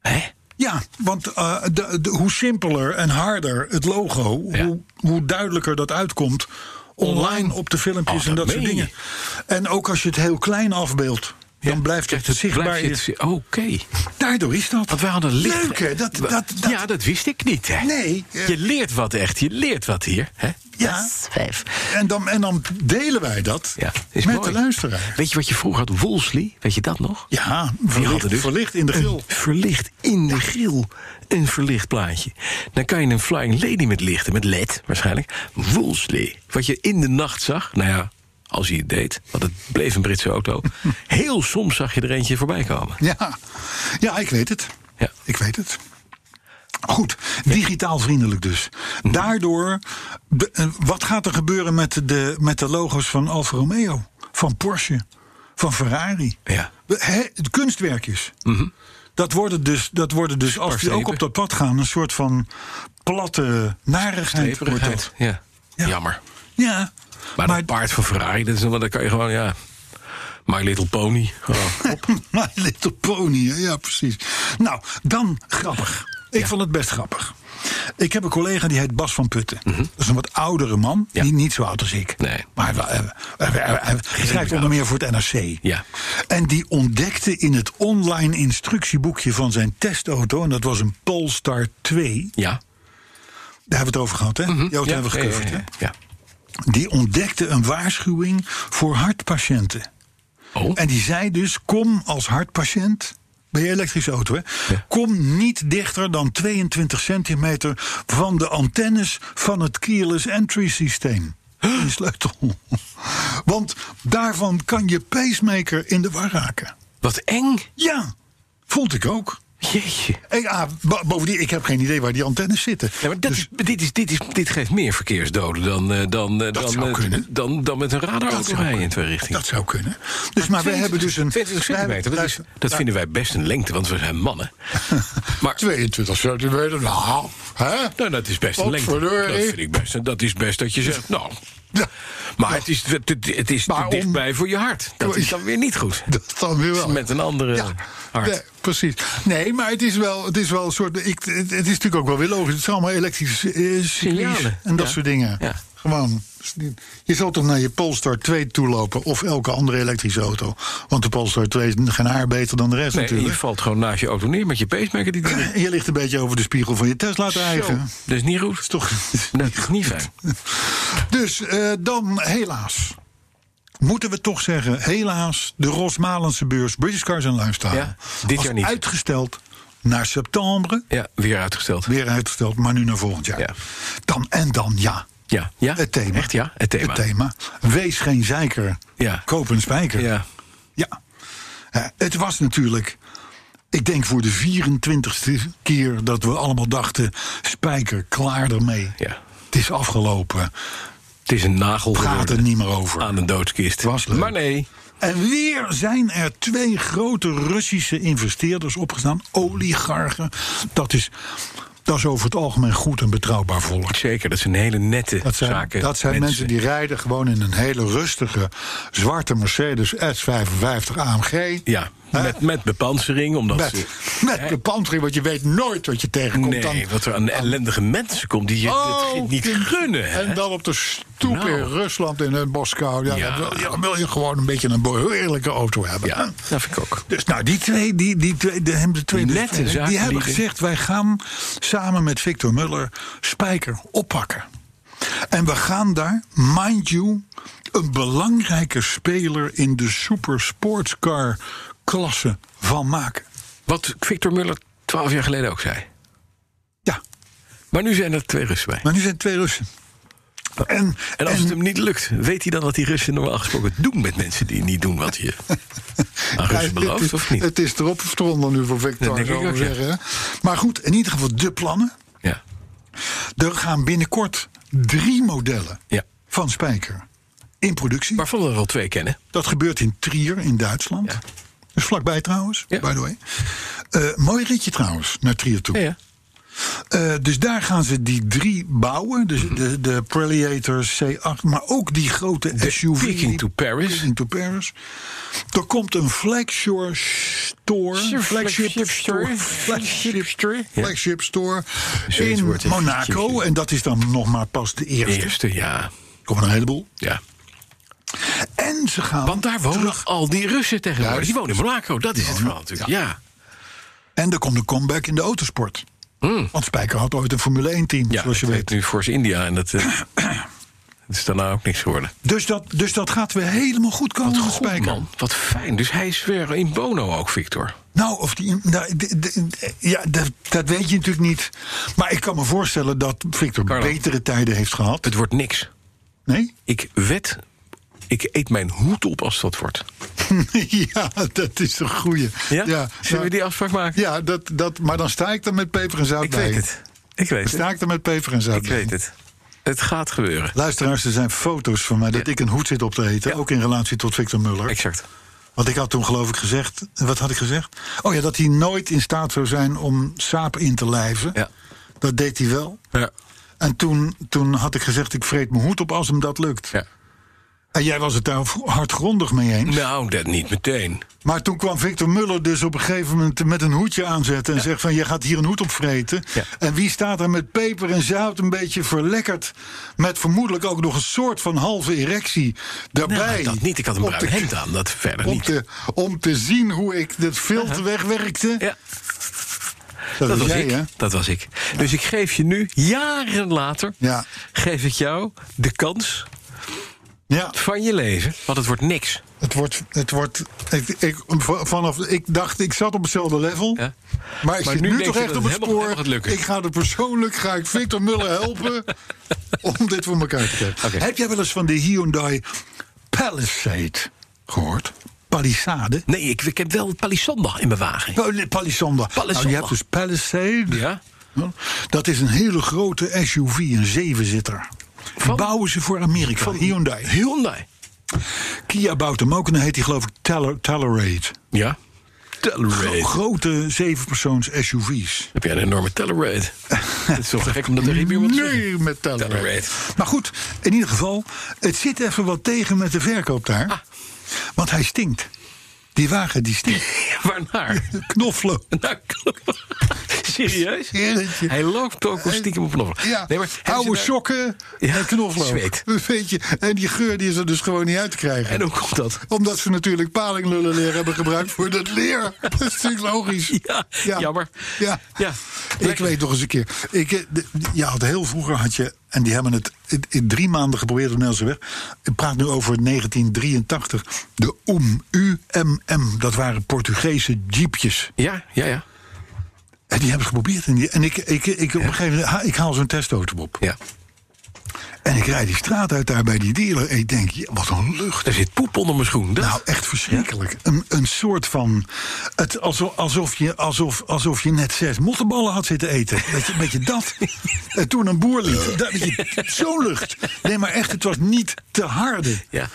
C: Hè?
D: Ja, want eh, de, de- hoe simpeler en harder het logo,
C: Ja.
D: hoe, hoe duidelijker dat uitkomt online
C: Online.
D: op de filmpjes
C: Oh,
D: en
C: dat
D: dat soort
C: meen je.
D: dingen. En ook als je het heel klein afbeeldt, dan blijft het zichtbaar.
C: blijft het- Oké.
D: Daardoor is dat.
C: Want wij hadden licht.
D: Leuk, hè? Dat, dat, dat,
C: Ja, dat wist ik niet. Hè?
D: Nee, eh.
C: Je leert wat echt. Je leert wat hier. Hè?
D: ja.
E: Vijf.
D: En, dan, en dan delen wij dat
C: Ja,
D: met
C: is
D: de
C: mooi.
D: luisteraar.
C: Weet je wat je vroeger had? Wolseley. Weet je dat nog?
D: Ja,
C: Die
D: verlicht,
C: hadden dus
D: verlicht in de
C: een
D: gil.
C: verlicht in de grill. Een verlicht plaatje. Dan kan je een Flying Lady met lichten, met LED waarschijnlijk. Woolsley. Wat je in de nacht zag, nou ja, als hij het deed, want het bleef een Britse auto. Heel soms zag je er eentje voorbij komen.
D: Ja. ja, ik weet het.
C: Ja.
D: Ik weet het. Goed, digitaal vriendelijk dus. Daardoor, de- eh, wat gaat er gebeuren met de, met de logo's van Alfa Romeo, van Porsche, van Ferrari?
C: Ja. Mhm.
D: We- hè, de kunstwerkjes. Dat worden dus, dat worden dus als die ook
C: Sparstrepen.
D: op dat pad gaan, een soort van platte narigheid. wordt dat.
C: Ja.
D: Ja.
C: Jammer.
D: Ja,
C: Maar,
D: Maar-
C: dat paard van Ferrari, dat is dan, dan kan je gewoon, ja. My Little Pony. Oh.
D: My Little Pony, hè? ja precies. Nou, dan grappig. Ik vond het best grappig. Ik heb een collega die heet Bas van Putten. Dat is een wat oudere man,
C: Mhm. Ja.
D: die niet zo oud als ik.
C: Nee.
D: Maar hij, hij- hij- hij- hij schrijft onder meer voor het NRC.
C: Ja.
D: En die ontdekte in het online instructieboekje van zijn testauto... en dat was een Polestar 2,
C: Ja.
D: daar hebben we het over gehad, hè? Die auto
C: Mhm. ja,
D: hebben we
C: ja,
D: gecoverd,
C: ja,
D: hè?
C: ja,
D: Die ontdekte een waarschuwing voor hartpatiënten.
C: ja. Oh,
D: En die zei dus: kom als hartpatiënt. Bij je elektrische auto, hè? Kom niet dichter dan 22 centimeter van de antennes van het keyless entry systeem. Een sleutel. Want daarvan kan je pacemaker in de war raken.
C: wat eng.
D: Ja, vond ik ook.
C: Jeetje.
D: En ja, bo- bovendien, ik heb geen idee waar die antennes zitten.
C: Ja, maar dat
D: Dus-
C: is, dit, is, dit, is, dit geeft meer verkeersdoden dan, eh, dan, eh, dan,
D: zou
C: eh,
D: kunnen.
C: dan, dan met een
D: Dat
C: radarauto
D: zou
C: rijden in
D: kunnen.
C: twee richtingen.
D: Dat zou kunnen. Dus, maar we hebben dus een.
C: 22
D: we hebben-
C: centimeter,
D: dus-
C: dat, is,
D: luister,
C: dat vinden wij best een lengte, want we zijn mannen. Maar
D: 22 centimeter, nou, hè?
C: nou, dat is best een
D: Wat
C: lengte.
D: verdorie.
C: Dat vind ik best. Dat is best dat je zegt, nou...
D: Ja.
C: Maar het is, het, het- het is
D: Maar
C: te
D: om-
C: dichtbij voor je hart. Dat is dan weer niet goed.
D: Dat dan weer wel.
C: Met een andere hart.
D: nee, precies. Nee, maar het is wel, het is wel een soort. Ik, het, het is natuurlijk ook wel weer logisch. Het zijn allemaal elektrische eh, circuits
C: Signalen,
D: en dat
C: ja.
D: soort dingen.
C: Ja.
D: Gewoon. Je zal toch naar je Polestar 2 toe lopen of elke andere elektrische auto. Want de Polestar 2 is geen haar beter dan de rest
C: Nee, je
D: natuurlijk.
C: valt gewoon naast je auto neer met je pacemaker. Die dingen.
D: En je ligt een beetje over de spiegel van je Tesla te eigen.
C: Dat is niet goed.
D: Toch?
C: Dat is niet fijn.
D: Dus eh, dan helaas. Moeten we toch zeggen, helaas, de Rosmalense beurs British Cars and Lifestyle.
C: Ja, dit
D: was
C: jaar niet.
D: Uitgesteld naar september.
C: Ja, weer uitgesteld.
D: Weer uitgesteld, maar nu naar volgend jaar.
C: Ja.
D: Dan en dan ja.
C: Ja, ja.
D: Het thema.
C: Echt ja, het thema.
D: Het thema. Wees geen zeiker.
C: Ja.
D: Koop een spijker.
C: Ja.
D: Ja. Ja, het was natuurlijk, ik denk voor de 24ste keer dat we allemaal dachten: spijker, klaar ermee.
C: Ja.
D: Het is afgelopen.
C: Het is een nagel
D: Praat er
C: geworden
D: niet meer over.
C: aan een doodskist.
D: Was leuk.
C: maar nee,
D: En weer zijn er twee grote Russische investeerders opgestaan, oligarchen. Dat is, dat is over het algemeen goed en betrouwbaar volk.
C: zeker. Dat zijn hele nette
D: Dat zijn,
C: zaken.
D: dat zijn mensen. die rijden gewoon in een hele rustige zwarte Mercedes S55 AMG.
C: Ja,
D: Hè?
C: met, met bepansering, omdat
D: met,
C: ze...
D: met de pantry, want je weet nooit wat je tegenkomt.
C: Nee,
D: dan,
C: wat er aan ellendige mensen komt die je
D: Oh,
C: dit niet
D: kind.
C: gunnen. hè?
D: En dan op de stoep
C: Nou.
D: in Rusland in eh, Moskou. Ja,
C: Ja.
D: Dan, wil je, dan wil je gewoon een beetje een behoorlijke auto hebben.
C: Ja, dat vind ik ook.
D: Dus nou, die twee, die, die twee, de, hem- de twee
C: Die
D: bevrijders,
C: nette
D: die
C: zakenlieden.
D: hebben gezegd: wij gaan samen met Victor Muller Spijker oppakken. En we gaan daar, mind you, een belangrijke speler in de super sportscar klasse van maken.
C: Wat Victor Muller twaalf jaar geleden ook zei.
D: Ja,
C: Maar nu zijn er twee Russen bij.
D: maar nu zijn het twee Russen. En,
C: En als het hem niet lukt, weet hij dan dat die Russen normaal gesproken doen met mensen die niet doen wat je aan Russen
D: Ja, het,
C: belooft, of niet?
D: Het is erop of eronder nu voor Victor,
C: Dat denk
D: zou
C: ik
D: ik
C: ook, ja.
D: zeggen. hè. Maar goed, in ieder geval de plannen.
C: Ja.
D: Er gaan binnenkort drie modellen
C: Ja.
D: van Spijker in productie.
C: Waarvan we er al twee kennen.
D: Dat gebeurt in Trier in Duitsland.
C: Ja.
D: Dus vlakbij trouwens,
C: Ja.
D: by the way. Eh, mooi ritje trouwens, naar Trier toe.
C: Ja, ja.
D: Eh, dus daar gaan ze die drie bouwen. Dus de, de Prelator C8, maar ook die grote SUV.
C: Peking to Paris.
D: Peking to Paris. Er komt een flagship store. Flagship store. Flagship store. Flagship store.
C: Zoiets
D: In
C: wordt het.
D: Monaco. En dat is dan nog maar pas de
C: De
D: eerste.
C: eerste, ja.
D: Er komen een heleboel.
C: ja.
D: En ze gaan.
C: Want daar wonen
D: terug.
C: al die Russen tegenwoordig.
D: Juist.
C: Die wonen in Monaco, dat is het verhaal natuurlijk. Ja.
D: En er komt een comeback in de autosport. Want Spijker had ooit een Formule 1 team,
C: Hmm. Ja,
D: zoals je
C: het
D: weet.
C: heet nu Force India en dat, eh, dat is daarna ook niks geworden.
D: Dus dat, dus dat gaat weer helemaal goed komen met
C: Goed,
D: Spijker.
C: man, wat fijn. Dus hij is weer in Bono ook, Victor.
D: Nou, of die. nou, d- d- d- ja, dat, dat weet je natuurlijk niet. Maar ik kan me voorstellen dat Victor
C: Carlo.
D: betere tijden heeft gehad.
C: Het wordt niks.
D: Nee?
C: Ik wed, ik eet mijn hoed op als dat wordt.
D: ja, dat is een goeie.
C: Zullen
D: nou,
C: we die afspraak maken?
D: ja dat, dat, maar dan sta ik er met peper en zout
C: ik
D: bij.
C: weet het. Ik weet
D: Dan
C: het.
D: sta ik er met peper en zout
C: Ik
D: bij.
C: weet het. Het gaat gebeuren.
D: Luisteraars, er zijn foto's van mij dat
C: Ja.
D: ik een hoed zit op te eten.
C: Ja.
D: Ook in relatie tot Victor Muller.
C: Exact.
D: Want ik had toen geloof ik gezegd, wat had ik gezegd? Oh ja, dat hij nooit in staat zou zijn om saap in te lijven.
C: Ja.
D: Dat deed hij wel.
C: Ja.
D: En toen, toen had ik gezegd, ik vreet mijn hoed op als hem dat lukt.
C: ja.
D: En jij was het daar hardgrondig mee eens.
C: Nou, dat niet meteen.
D: Maar toen kwam Victor Muller dus op een gegeven moment met een hoedje aanzetten. En zegt van, je gaat hier een hoed op vreten.
C: Ja.
D: En wie staat daar met peper en zout een beetje verlekkerd. Met vermoedelijk ook nog een soort van halve erectie daarbij.
C: Nou, dat niet. Ik had een
D: Op de-
C: bruin hemd aan. Dat verder
D: Om
C: niet.
D: te, om te zien hoe ik dat filter wegwerkte.
C: Uh-huh. Ja, dat
D: Dat, was
C: was
D: jij, hè?
C: ik. Dat was ik. Dus ik geef je nu, jaren later,
D: Ja.
C: geef ik jou de kans
D: Ja,
C: van je leven. Want het wordt niks.
D: het wordt... Het wordt ik, ik, v- vanaf, ik dacht, ik zat op hetzelfde level.
C: Ja.
D: Maar ik
C: Maar
D: zit
C: nu
D: nu,
C: denk
D: toch
C: je
D: echt
C: dat
D: op
C: het
D: het
C: helemaal-
D: spoor.
C: helemaal gaat lukken.
D: Ik ga er persoonlijk, ga ik Victor Muller helpen om dit voor elkaar te krijgen.
C: Oké.
D: Heb jij wel eens van de Hyundai Palisade gehoord? Palisade?
C: Nee, ik, ik heb wel palissander in mijn wagen.
D: Pal- Palisade. Nou,
C: Palisade.
D: je hebt dus Palisade.
C: Ja?
D: Dat is een hele grote SUV, een zevenzitter. Die
C: Van?
D: bouwen ze voor Amerika. Van Hyundai.
C: Hyundai.
D: Kia bouwt hem ook en dan heet hij geloof ik Teller- Telluride.
C: Ja.
D: Gro-
C: Telluride.
D: grote zevenpersoons SUV's.
C: Heb jij een enorme Telluride? Het is toch gek om dat er iemand te zeggen.
D: Nee, met Telluride.
C: Telluride.
D: Maar goed, in ieder geval, het zit even wat tegen met de verkoop daar.
C: Ah.
D: Want hij stinkt. Die wagen die stinkt.
C: Waarnaar?
D: Knoflook.
C: Nou, serieus?
D: Jeetje.
C: Hij loopt ook al stiekem op nog.
D: Ja,
C: hebben ze
D: oude
C: daar-
D: sokken
C: Ja,
D: en knoflook.
C: zweet.
D: Weet je, en die geur die is er dus gewoon niet uit te krijgen.
C: En hoe komt dat?
D: Omdat ze natuurlijk palinglullenleer hebben gebruikt voor dat leer. Dat is natuurlijk logisch.
C: Ja, jammer.
D: Ja.
C: Ja,
D: Ik
C: lekker.
D: weet nog eens een keer. Ik, eh, de- je had heel vroeger, had je, en die hebben het in, in drie maanden geprobeerd op Nederlandse weg. Ik praat nu over 1983. De UM, UMM, dat waren Portugese jeepjes.
C: Ja, ja, ja.
D: En die hebben ze geprobeerd. En, die, en ik, ik, ik, op een gegeven moment, ha- ik haal zo'n testauto op.
C: ja.
D: En ik rijd die straat uit daar bij die dealer. En ik denk, ja, wat een lucht.
C: Er zit poep onder mijn schoen. Dat,
D: Nou, echt verschrikkelijk. Een, een soort van. Het alsof, alsof, je, alsof, alsof je net zes mottenballen had zitten eten. Weet je, een beetje dat. En toen een boer liet. Dat, weet je, Zo'n lucht. Nee, maar echt, het was niet te harde.
C: Ja.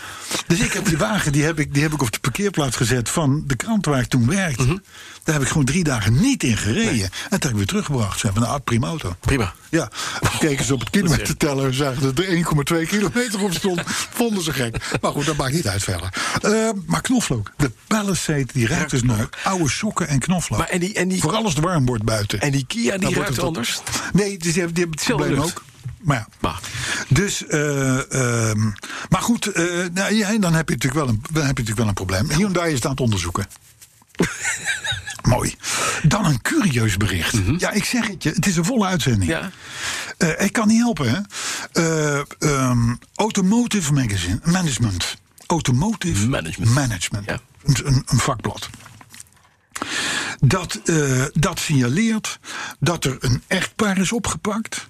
D: Dus ik heb die wagen die heb ik, die heb ik op de parkeerplaats gezet van de krant waar ik toen werkte.
C: Mhm.
D: Daar heb ik gewoon drie dagen niet in gereden. En toen heb ik weer teruggebracht. Ze hebben een ah, prima auto.
C: Prima.
D: Ja, toen keken ze op het kilometerteller en zagen dat er 1,2 kilometer op stond. Vonden ze gek. Maar goed, dat maakt niet uit verder. Eh, maar knoflook. De Palisade, die ruikt dus naar oude sokken en knoflook.
C: Maar en die- en die-
D: Vooral als het warm wordt buiten.
C: En die Kia, die
D: Dan wordt
C: ruikt
D: het
C: anders?
D: Nee, dus die hebben, die hebben het
C: Zelfde
D: probleem
C: lucht.
D: ook. Maar ja.
C: Maar.
D: Dus, eh, ehm, maar goed, eh, nou, ja, dan, heb je natuurlijk wel een, dan heb je natuurlijk wel een probleem. Hyundai is het aan het onderzoeken. Mooi. Dan een curieus bericht. Ja, ik zeg het je, het is een volle
C: Mhm.
D: uitzending.
C: Ja.
D: Eh, ik kan niet helpen, hè? Eh, ehm, Automotive Magazine, Management. Automotive
C: Management.
D: Management.
C: Ja.
D: Een- Een, een vakblad. Dat, eh, dat signaleert dat er een echtpaar is opgepakt.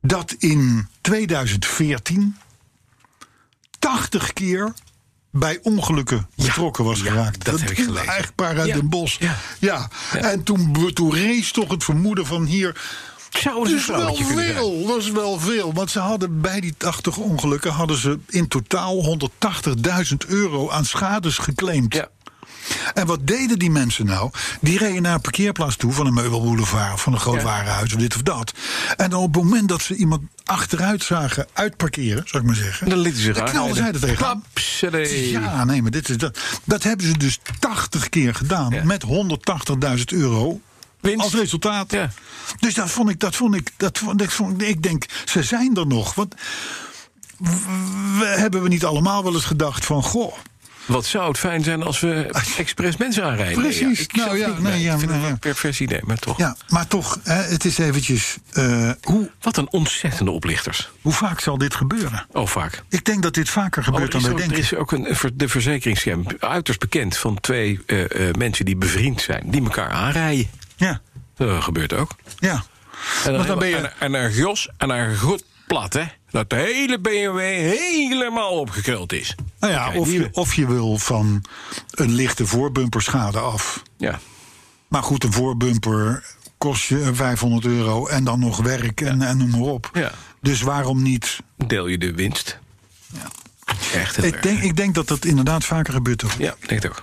D: Dat in 2014 80 keer bij ongelukken betrokken was geraakt.
C: dat heb ik
D: ging
C: gelezen.
D: Echtpaar uit
C: Ja,
D: Den Bosch.
C: ja.
D: Ja, en toen, toen rees toch het vermoeden van hier.
C: Zouden ze
D: Dat
C: Oh, een
D: is wel
C: vrouwtje kunnen zijn?
D: veel, dat is wel veel. Want ze hadden bij die 80 ongelukken hadden ze in totaal 180.000 euro aan schades geclaimd.
C: Ja.
D: En wat deden die mensen nou? Die reden naar een parkeerplaats toe van een meubelboulevard of van een groot
C: Ja.
D: warenhuis of dit of dat. En dan op het moment dat ze iemand achteruit zagen uitparkeren, zou ik maar zeggen.
C: Dan lieten ze zich
D: knalden zij er
C: aanrijden.
D: tegenaan.
C: Papsadee.
D: Ja, nee, maar dit is dat. Dat hebben ze dus 80 keer gedaan
C: Ja.
D: met 180.000 euro.
C: Winst.
D: Als resultaat.
C: Ja.
D: Dus dat vond ik, dat vond ik, dat vond ik, vond- ik denk, ze zijn er nog. Want we, hebben we niet allemaal wel eens gedacht van, goh,
C: Wat zou het fijn zijn als we expres mensen aanrijden?
D: Precies.
C: ik
D: Nou
C: zou het
D: ja,
C: niet
D: nee,
C: doen.
D: ja,
C: ik vind
D: nee,
C: het
D: ja.
C: een pervers idee, maar toch.
D: ja, maar toch, hè, het is eventjes, eh, hoe,
C: Wat een ontzettende oplichters.
D: hoe vaak zal dit gebeuren?
C: Oh, vaak.
D: Ik denk dat dit vaker
C: Oh,
D: gebeurt
C: er,
D: dan
C: is
D: wij
C: ook, er
D: denken.
C: is ook een, een ver- de verzekeringsschem uiterst bekend van twee eh, eh, mensen die bevriend zijn, die elkaar aanrijden.
D: Ja,
C: Dat gebeurt ook.
D: ja.
C: En
D: Want dan ben je-
C: en, en een gros en een goed plat, hè? Dat de hele BMW helemaal opgekruld is.
D: Nou ja,
C: Kijk,
D: of je,
C: nieuwe.
D: of je wil van een lichte voorbumperschade af.
C: Ja.
D: Maar goed, een voorbumper kost je 500 euro en dan nog werk en, en noem maar op.
C: Ja.
D: Dus waarom niet?
C: Deel je de winst. Echt heel
D: Ik
C: erg.
D: denk, ik denk dat dat inderdaad vaker gebeurt. ook.
C: Ja, ik denk het ook.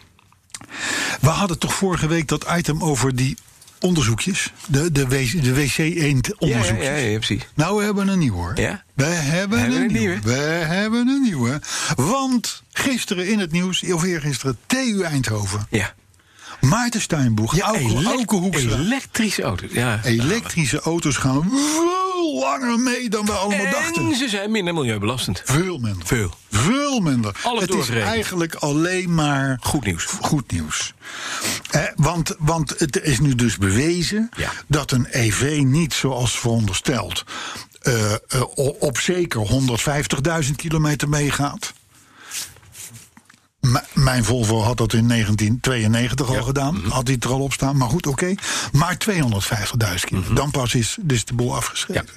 D: We hadden toch vorige week dat item over die onderzoekjes. De, de, w- de wc-eend-onderzoekjes.
C: Ja, ja, ja, ja, precies.
D: Nou, we hebben een nieuw hoor.
C: Ja?
D: We hebben,
C: Hebben we
D: een,
C: een
D: nieuwe.
C: nieuwe?
D: We hebben een nieuwe. Want gisteren in het nieuws, of eergisteren, TU Eindhoven.
C: Ja.
D: Maarten Steinboeg, ja, Auke,
C: Elek-
D: Auke Hoekstra.
C: elektrische auto's. Ja.
D: Elektrische auto's gaan veel langer mee dan we allemaal
C: En
D: dachten.
C: ze zijn minder milieubelastend.
D: Veel minder.
C: Veel.
D: Veel minder.
C: Alles
D: het is
C: doorgerekend.
D: eigenlijk alleen maar
C: Goed nieuws.
D: Goed nieuws. Eh, want, want het is nu dus bewezen
C: Ja.
D: dat een EV niet zoals verondersteld eh, eh, o- op zeker 150.000 kilometer meegaat. M- mijn Volvo had dat in 1992 al gedaan.
C: Mhm.
D: Had hij het er al op staan. Maar goed, oké. Maar 250.000
C: Mhm.
D: kilometer. Dan pas is dus de boel afgeschreven.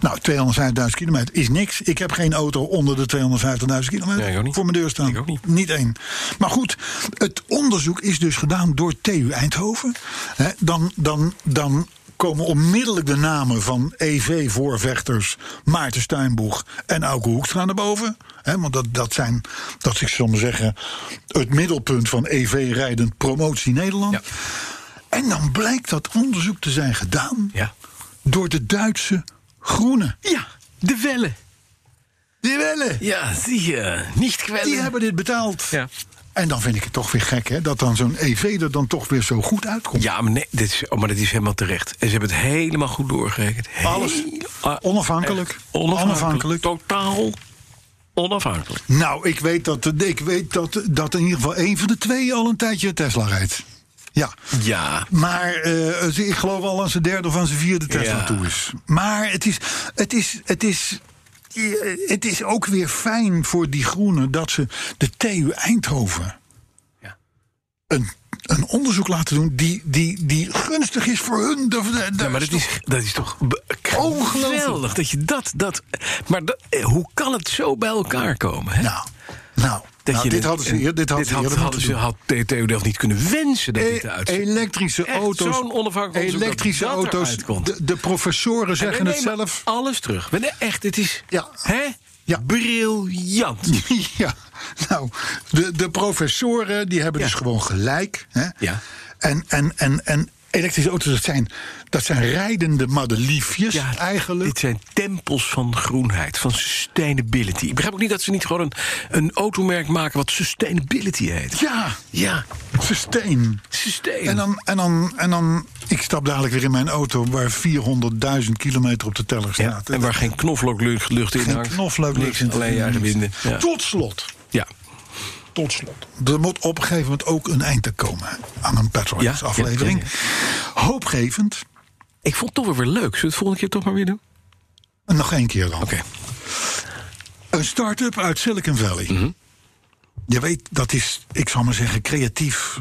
D: Nou, 250.000 kilometer is niks. Ik heb geen auto onder de 250.000 kilometer.
C: Nee, ik ook niet.
D: Voor mijn deur staan.
C: Ik ook niet.
D: één. Maar goed, het onderzoek is dus gedaan door TU Eindhoven. Hè, dan, dan, dan komen onmiddellijk de namen van EV-voorvechters... Maarten Steinboeg en Auke Hoekstra naar boven. Hè, want dat, dat zijn, dat ik zal maar zeggen... het middelpunt van EV-rijdend promotie Nederland.
C: Ja.
D: En dan blijkt dat onderzoek te zijn gedaan...
C: Ja.
D: door de Duitse Groenen.
C: Ja, de wellen.
D: Die willen!
C: Ja, zie je. Niet kwellen.
D: Die hebben dit betaald.
C: Ja.
D: En dan vind ik het toch weer gek, hè? Dat dan zo'n EV er dan toch weer zo goed uitkomt.
C: Ja, maar, nee, dit is, oh, maar dat is helemaal terecht. En ze hebben het helemaal goed doorgerekend.
D: Alles.
C: Heel- ah,
D: Onafhankelijk.
C: onafhankelijk. Totaal onafhankelijk.
D: Nou, ik weet, dat, ik weet dat, dat in ieder geval één van de twee al een tijdje een Tesla rijdt. Ja.
C: Ja.
D: Maar eh, ze- ik geloof al aan zijn derde of aan zijn vierde Tesla
C: Ja.
D: toe is. Maar het is, het is, het is, eh, het is ook weer fijn voor die groenen dat ze de TU Eindhoven
C: Ja.
D: een, een onderzoek laten doen die, die, die gunstig is voor hun. Dat- dat-
C: Ja, maar dat is, dat is toch be-
D: Ongelooflijk.
C: geweldig dat je dat... dat maar dat- eh, hoe kan het zo bij elkaar komen? Hè?
D: Nou, nou,
C: Dat
D: nou,
C: je
D: dit
C: de-
D: hadden ze hier. Dit hadden ze
C: had,
D: eerder
C: hadden
D: moeten
C: ze
D: doen.
C: had TU Delft niet kunnen wensen dat dit
D: E-
C: eruit
D: elektrische
C: Echt
D: auto's.
C: zo'n onafhankelijk onderzoek
D: elektrische
C: dat dat
D: auto's.
C: eruit komt.
D: De, de professoren zeggen het zelf.
C: alles terug. We ne- echt, het is
D: Ja.
C: hè?
D: Ja.
C: briljant.
D: ja, nou, de, de professoren die hebben
C: Ja.
D: dus gewoon gelijk. Hè?
C: Ja.
D: En, en, en, en elektrische auto's, dat zijn, dat zijn rijdende madeliefjes
C: Ja,
D: eigenlijk.
C: Dit zijn tempels van groenheid, van sustainability. Ik begrijp ook niet dat ze niet gewoon een, een automerk maken wat sustainability heet.
D: Ja,
C: Ja,
D: sustain.
C: sustain.
D: En dan, en, dan, en dan, ik stap dadelijk weer in mijn auto waar 400.000 kilometer op de teller
C: Ja,
D: staat.
C: en waar geen knoflooklucht lucht in
D: geen
C: hangt.
D: knoflook
C: Niks,
D: niks in te
C: Alleen je eigen
D: vinden.
C: winden. Ja.
D: Tot slot,
C: ja.
D: tot slot. Er moet op een gegeven moment ook een eind te komen aan een Petrolheads
C: Ja,
D: aflevering.
C: ja,
D: Hoopgevend.
C: Ik vond het toch wel weer leuk. Zullen we het volgende keer toch maar weer doen?
D: En nog één keer dan.
C: Oké.
D: Een start-up uit Silicon Valley.
C: Mhm.
D: Je weet, dat is, ik zal maar zeggen, creatief.
C: We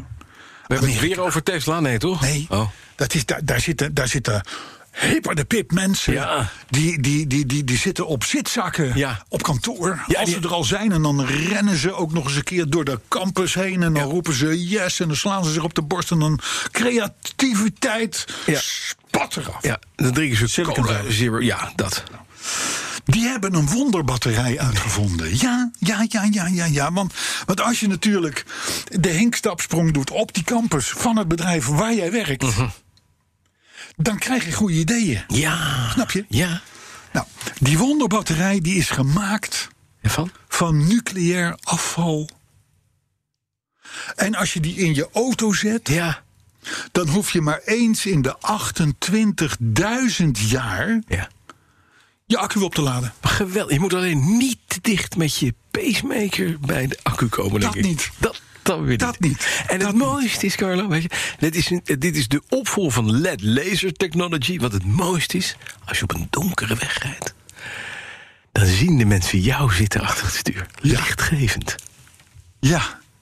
C: hebben het
D: Amerika.
C: weer over Tesla, nee toch?
D: Nee,
C: Oh.
D: dat is, daar, daar zitten, daar zitten hipper de pip mensen.
C: Ja.
D: Die, die, die, die, die zitten op zitzakken
C: Ja.
D: op kantoor.
C: Ja,
D: als
C: die-
D: ze er al zijn en dan rennen ze ook nog eens een keer door de campus heen. En dan roepen ze yes en dan slaan ze zich op de borst. En dan creativiteit
C: Ja.
D: spat eraf.
C: Ja, dan drinken ze
D: Silicon
C: cola
D: Valley.
C: zero. Ja, dat.
D: Die hebben een wonderbatterij uitgevonden. Ja, ja, ja, ja, ja, ja. Want, want als je natuurlijk de hinkstapsprong doet op die campus van het bedrijf waar jij werkt. Dan krijg je goede ideeën.
C: Ja.
D: Snap je?
C: Ja.
D: Nou, die wonderbatterij die is gemaakt
C: En van?
D: van nucleair afval. En als je die in je auto zet,
C: Ja.
D: dan hoef je maar eens in de 28.000 jaar
C: Ja.
D: je accu op te laden.
C: Geweldig. Je moet alleen niet te dicht met je pacemaker bij de accu komen. denk
D: Dat
C: ik.
D: niet.
C: Dat, dat, weer
D: Dat niet.
C: En
D: Dat
C: het mooiste is, Carlo, weet je, dit is, een- dit is de opvolger van LED laser technology. Wat het mooiste is, als je op een donkere weg rijdt, dan zien de mensen jou zitten achter het stuur. Lichtgevend.
D: Ja,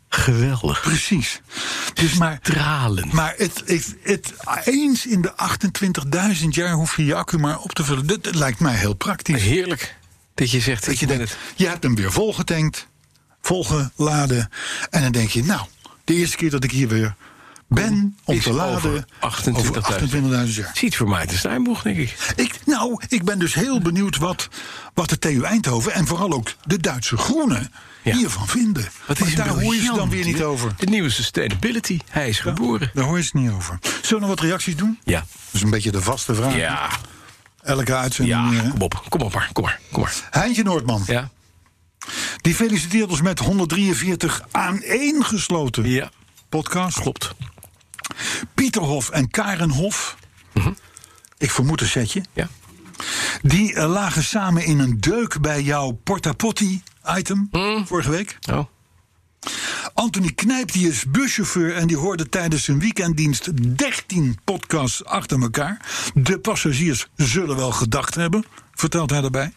C: Geweldig.
D: precies. Dus maar
C: Stralend.
D: Maar het, het, het, eens in de 28.000 jaar hoef je je accu maar op te vullen. Dat, dat lijkt mij heel praktisch.
C: Heerlijk. Dat je zegt,
D: Dat je
C: ik ben
D: denkt,
C: het.
D: je hebt hem weer volgetankt, volgeladen. En dan denk je, nou, de eerste keer dat ik hier weer Ben om
C: is
D: te
C: over
D: laden
C: 28.000.
D: over 28.000 jaar.
C: Ziet voor mij de Steinboeg, denk ik.
D: Ik, nou, ik ben dus heel benieuwd wat, wat de TU Eindhoven en vooral ook de Duitse Groenen
C: Ja.
D: hiervan vinden.
C: Wat
D: maar
C: is
D: daar
C: een
D: hoor je ze dan
C: briljant,
D: weer niet
C: hè?
D: over.
C: De nieuwe sustainability. Hij is geboren.
D: Daar hoor je ze niet over. Zullen we nog wat reacties doen?
C: Ja.
D: Dat is een beetje de vaste vraag.
C: Ja,
D: Elke uitzending.
C: ja,
D: hier, hè?
C: kom op. Kom op maar, kom maar, kom maar.
D: Heintje Noordman,
C: Ja,
D: die feliciteert ons met 143 aan één gesloten
C: ja,
D: podcast.
C: klopt.
D: Pieter Hof en Karen Hof.
C: Mhm.
D: Ik vermoed een setje.
C: Ja.
D: Die eh, lagen samen in een deuk bij jouw Porta Potti item vorige week.
C: Oh.
D: Anthony Knijp die is buschauffeur en die hoorde tijdens zijn weekenddienst 13 podcasts achter elkaar. De passagiers zullen wel gedacht hebben, vertelt hij daarbij.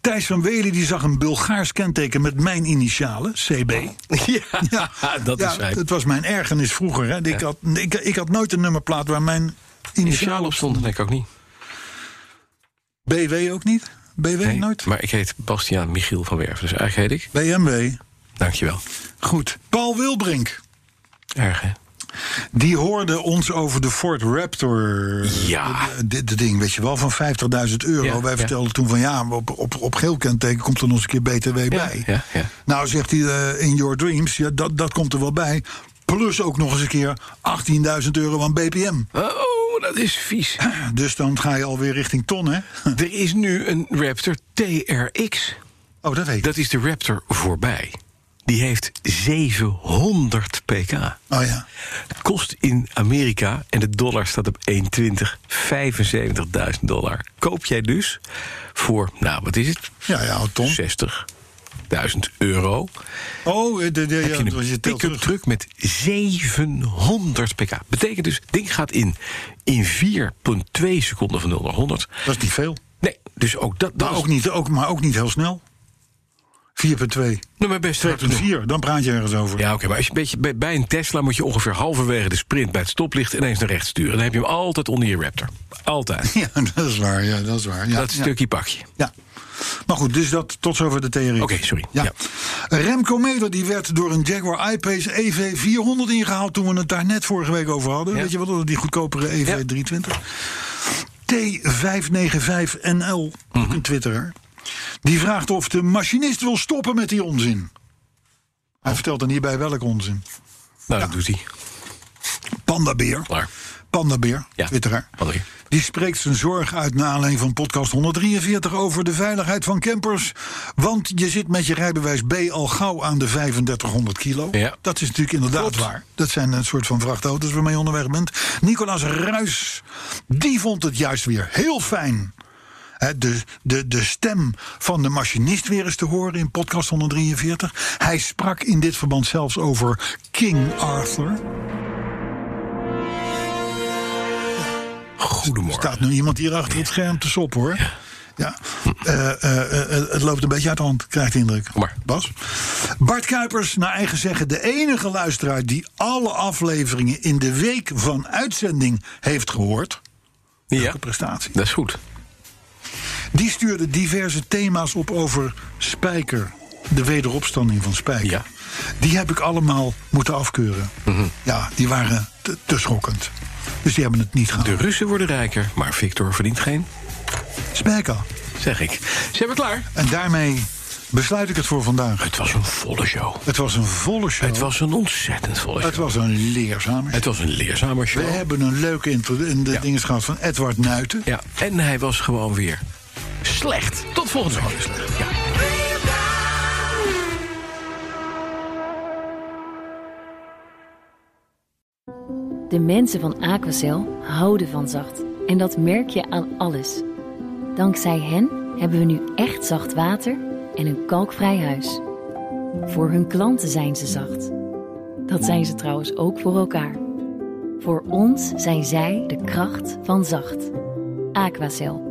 D: Thijs van Welen die zag een Bulgaars kenteken met mijn initialen, CB.
C: Ja, dat
D: Ja,
C: is hij.
D: Het was mijn ergernis vroeger. Hè. Ik, had, ik, ik had nooit een nummerplaat waar mijn initialen
C: Initiaal
D: op
C: op stond, denk ik ook niet.
D: BW ook niet? BW
C: Nee,
D: nooit?
C: Maar ik heet Bastiaan Michiel van Werven, dus eigenlijk heet ik.
D: BMW.
C: Dankjewel.
D: Goed. Paul Wilbrink.
C: Erg, hè?
D: Die hoorde ons over de Ford Raptor.
C: Ja.
D: eh, Dit dit ding, weet je wel, van 50.000 euro.
C: Ja,
D: Wij
C: ja.
D: vertelden toen van ja, op, op, op geel kenteken komt er nog eens een keer BTW bij.
C: ja, ja.
D: Nou, zegt hij eh, in Your Dreams, ja, dat, dat komt er wel bij. Plus ook nog eens een keer 18.000 euro aan BPM.
C: Oh, dat is vies.
D: Dus dan ga je alweer richting ton, hè?
C: Er is nu een Raptor TRX.
D: Oh, dat weet ik.
C: Dat is de Raptor voorbij. Die heeft 700 pk.
D: Oh ja.
C: Kost in Amerika, en de dollar staat op 1,20, 75.000 dollar. Koop jij dus voor, nou wat is het?
D: Ja, ja, ton.
C: 60.000 euro.
D: Oh, eh, de, de, ja,
C: heb je
D: dus
C: een
D: je telt
C: pick-up
D: terug.
C: truck met 700 pk. Betekent dus, ding gaat in in 4,2 seconden van 0 naar 100.
D: Dat is niet veel.
C: Nee, dus ook dat, dat
D: Maar
C: is
D: ook, niet, ook, maar ook niet heel snel. 4,2.
C: nou, maar best hard te doen.
D: 4, dan praat je ergens over.
C: Ja, oké, maar als je een beetje, bij, bij een Tesla moet je ongeveer halverwege de sprint bij het stoplicht ineens naar rechts sturen. Dan heb je hem altijd onder je Raptor. Altijd.
D: Ja, dat is waar. Ja, dat is waar. Ja,
C: dat
D: ja,
C: stukje pakje.
D: ja. Maar goed, dus dat tot zover de theorie.
C: Oké, sorry.
D: Ja.
C: Ja.
D: Remco Meder die werd door een Jaguar I-Pace EV400 ingehaald... toen we het daar net vorige week over hadden.
C: Ja.
D: Weet je wat, die goedkopere E EV320. T595NL,
C: Mhm.
D: ook een twitteraar. Die vraagt of de machinist wil stoppen met die onzin. Hij vertelt dan hierbij welke onzin.
C: Nou, dat doet hij.
D: Pandabeer.
C: Klaar.
D: Pandabeer,
C: Ja.
D: twitteraar.
C: Hallo.
D: Die spreekt zijn zorg uit naar aanleiding van podcast 143 over de veiligheid van campers. Want je zit met je rijbewijs B al gauw aan de 3500 kilo.
C: Ja.
D: Dat is natuurlijk inderdaad waar. Dat zijn een soort van vrachtauto's waarmee je onderweg bent. Nicolaas Ruis, die vond het juist weer heel fijn. hè, de, de, de stem van de machinist weer eens te horen in podcast 143. Hij sprak in dit verband zelfs over King Arthur. Er
C: Goedemorgen.
D: staat nu iemand hier achter het scherm te sop, hoor. Ja. Eh, eh, eh, eh, het loopt een beetje uit de hand, krijgt de indruk.
C: Kom maar.
D: Bas. Bart Kuipers, naar eigen zeggen, de enige luisteraar die alle afleveringen in de week van uitzending heeft gehoord.
C: Ja,
D: Welke prestatie.
C: dat is goed.
D: Die stuurde diverse thema's op over Spijker. De wederopstanding van Spijker.
C: Ja. Mhm.
D: Die heb ik allemaal moeten afkeuren. Ja, die waren te, te schokkend. Dus die hebben het niet
C: De
D: gehaald.
C: Russen worden rijker, maar Victor verdient geen,
D: Spijker.
C: zeg ik. Zijn we klaar?
D: En daarmee besluit ik het voor vandaag.
C: Het was een volle show.
D: Het was een volle show.
C: Het was een ontzettend volle show.
D: Het was een leerzame show.
C: Het was een leerzame
D: We
C: show.
D: hebben een leuke intro in de
C: Ja.
D: dingen gehad van Edward Nuiten.
C: Ja, en hij was gewoon weer slecht. Tot volgende week. Ja.
G: De mensen van Aquacel houden van zacht. En dat merk je aan alles. Dankzij hen hebben we nu echt zacht water en een kalkvrij huis. Voor hun klanten zijn ze zacht. Dat zijn ze trouwens ook voor elkaar. Voor ons zijn zij de kracht van zacht. Aquacel.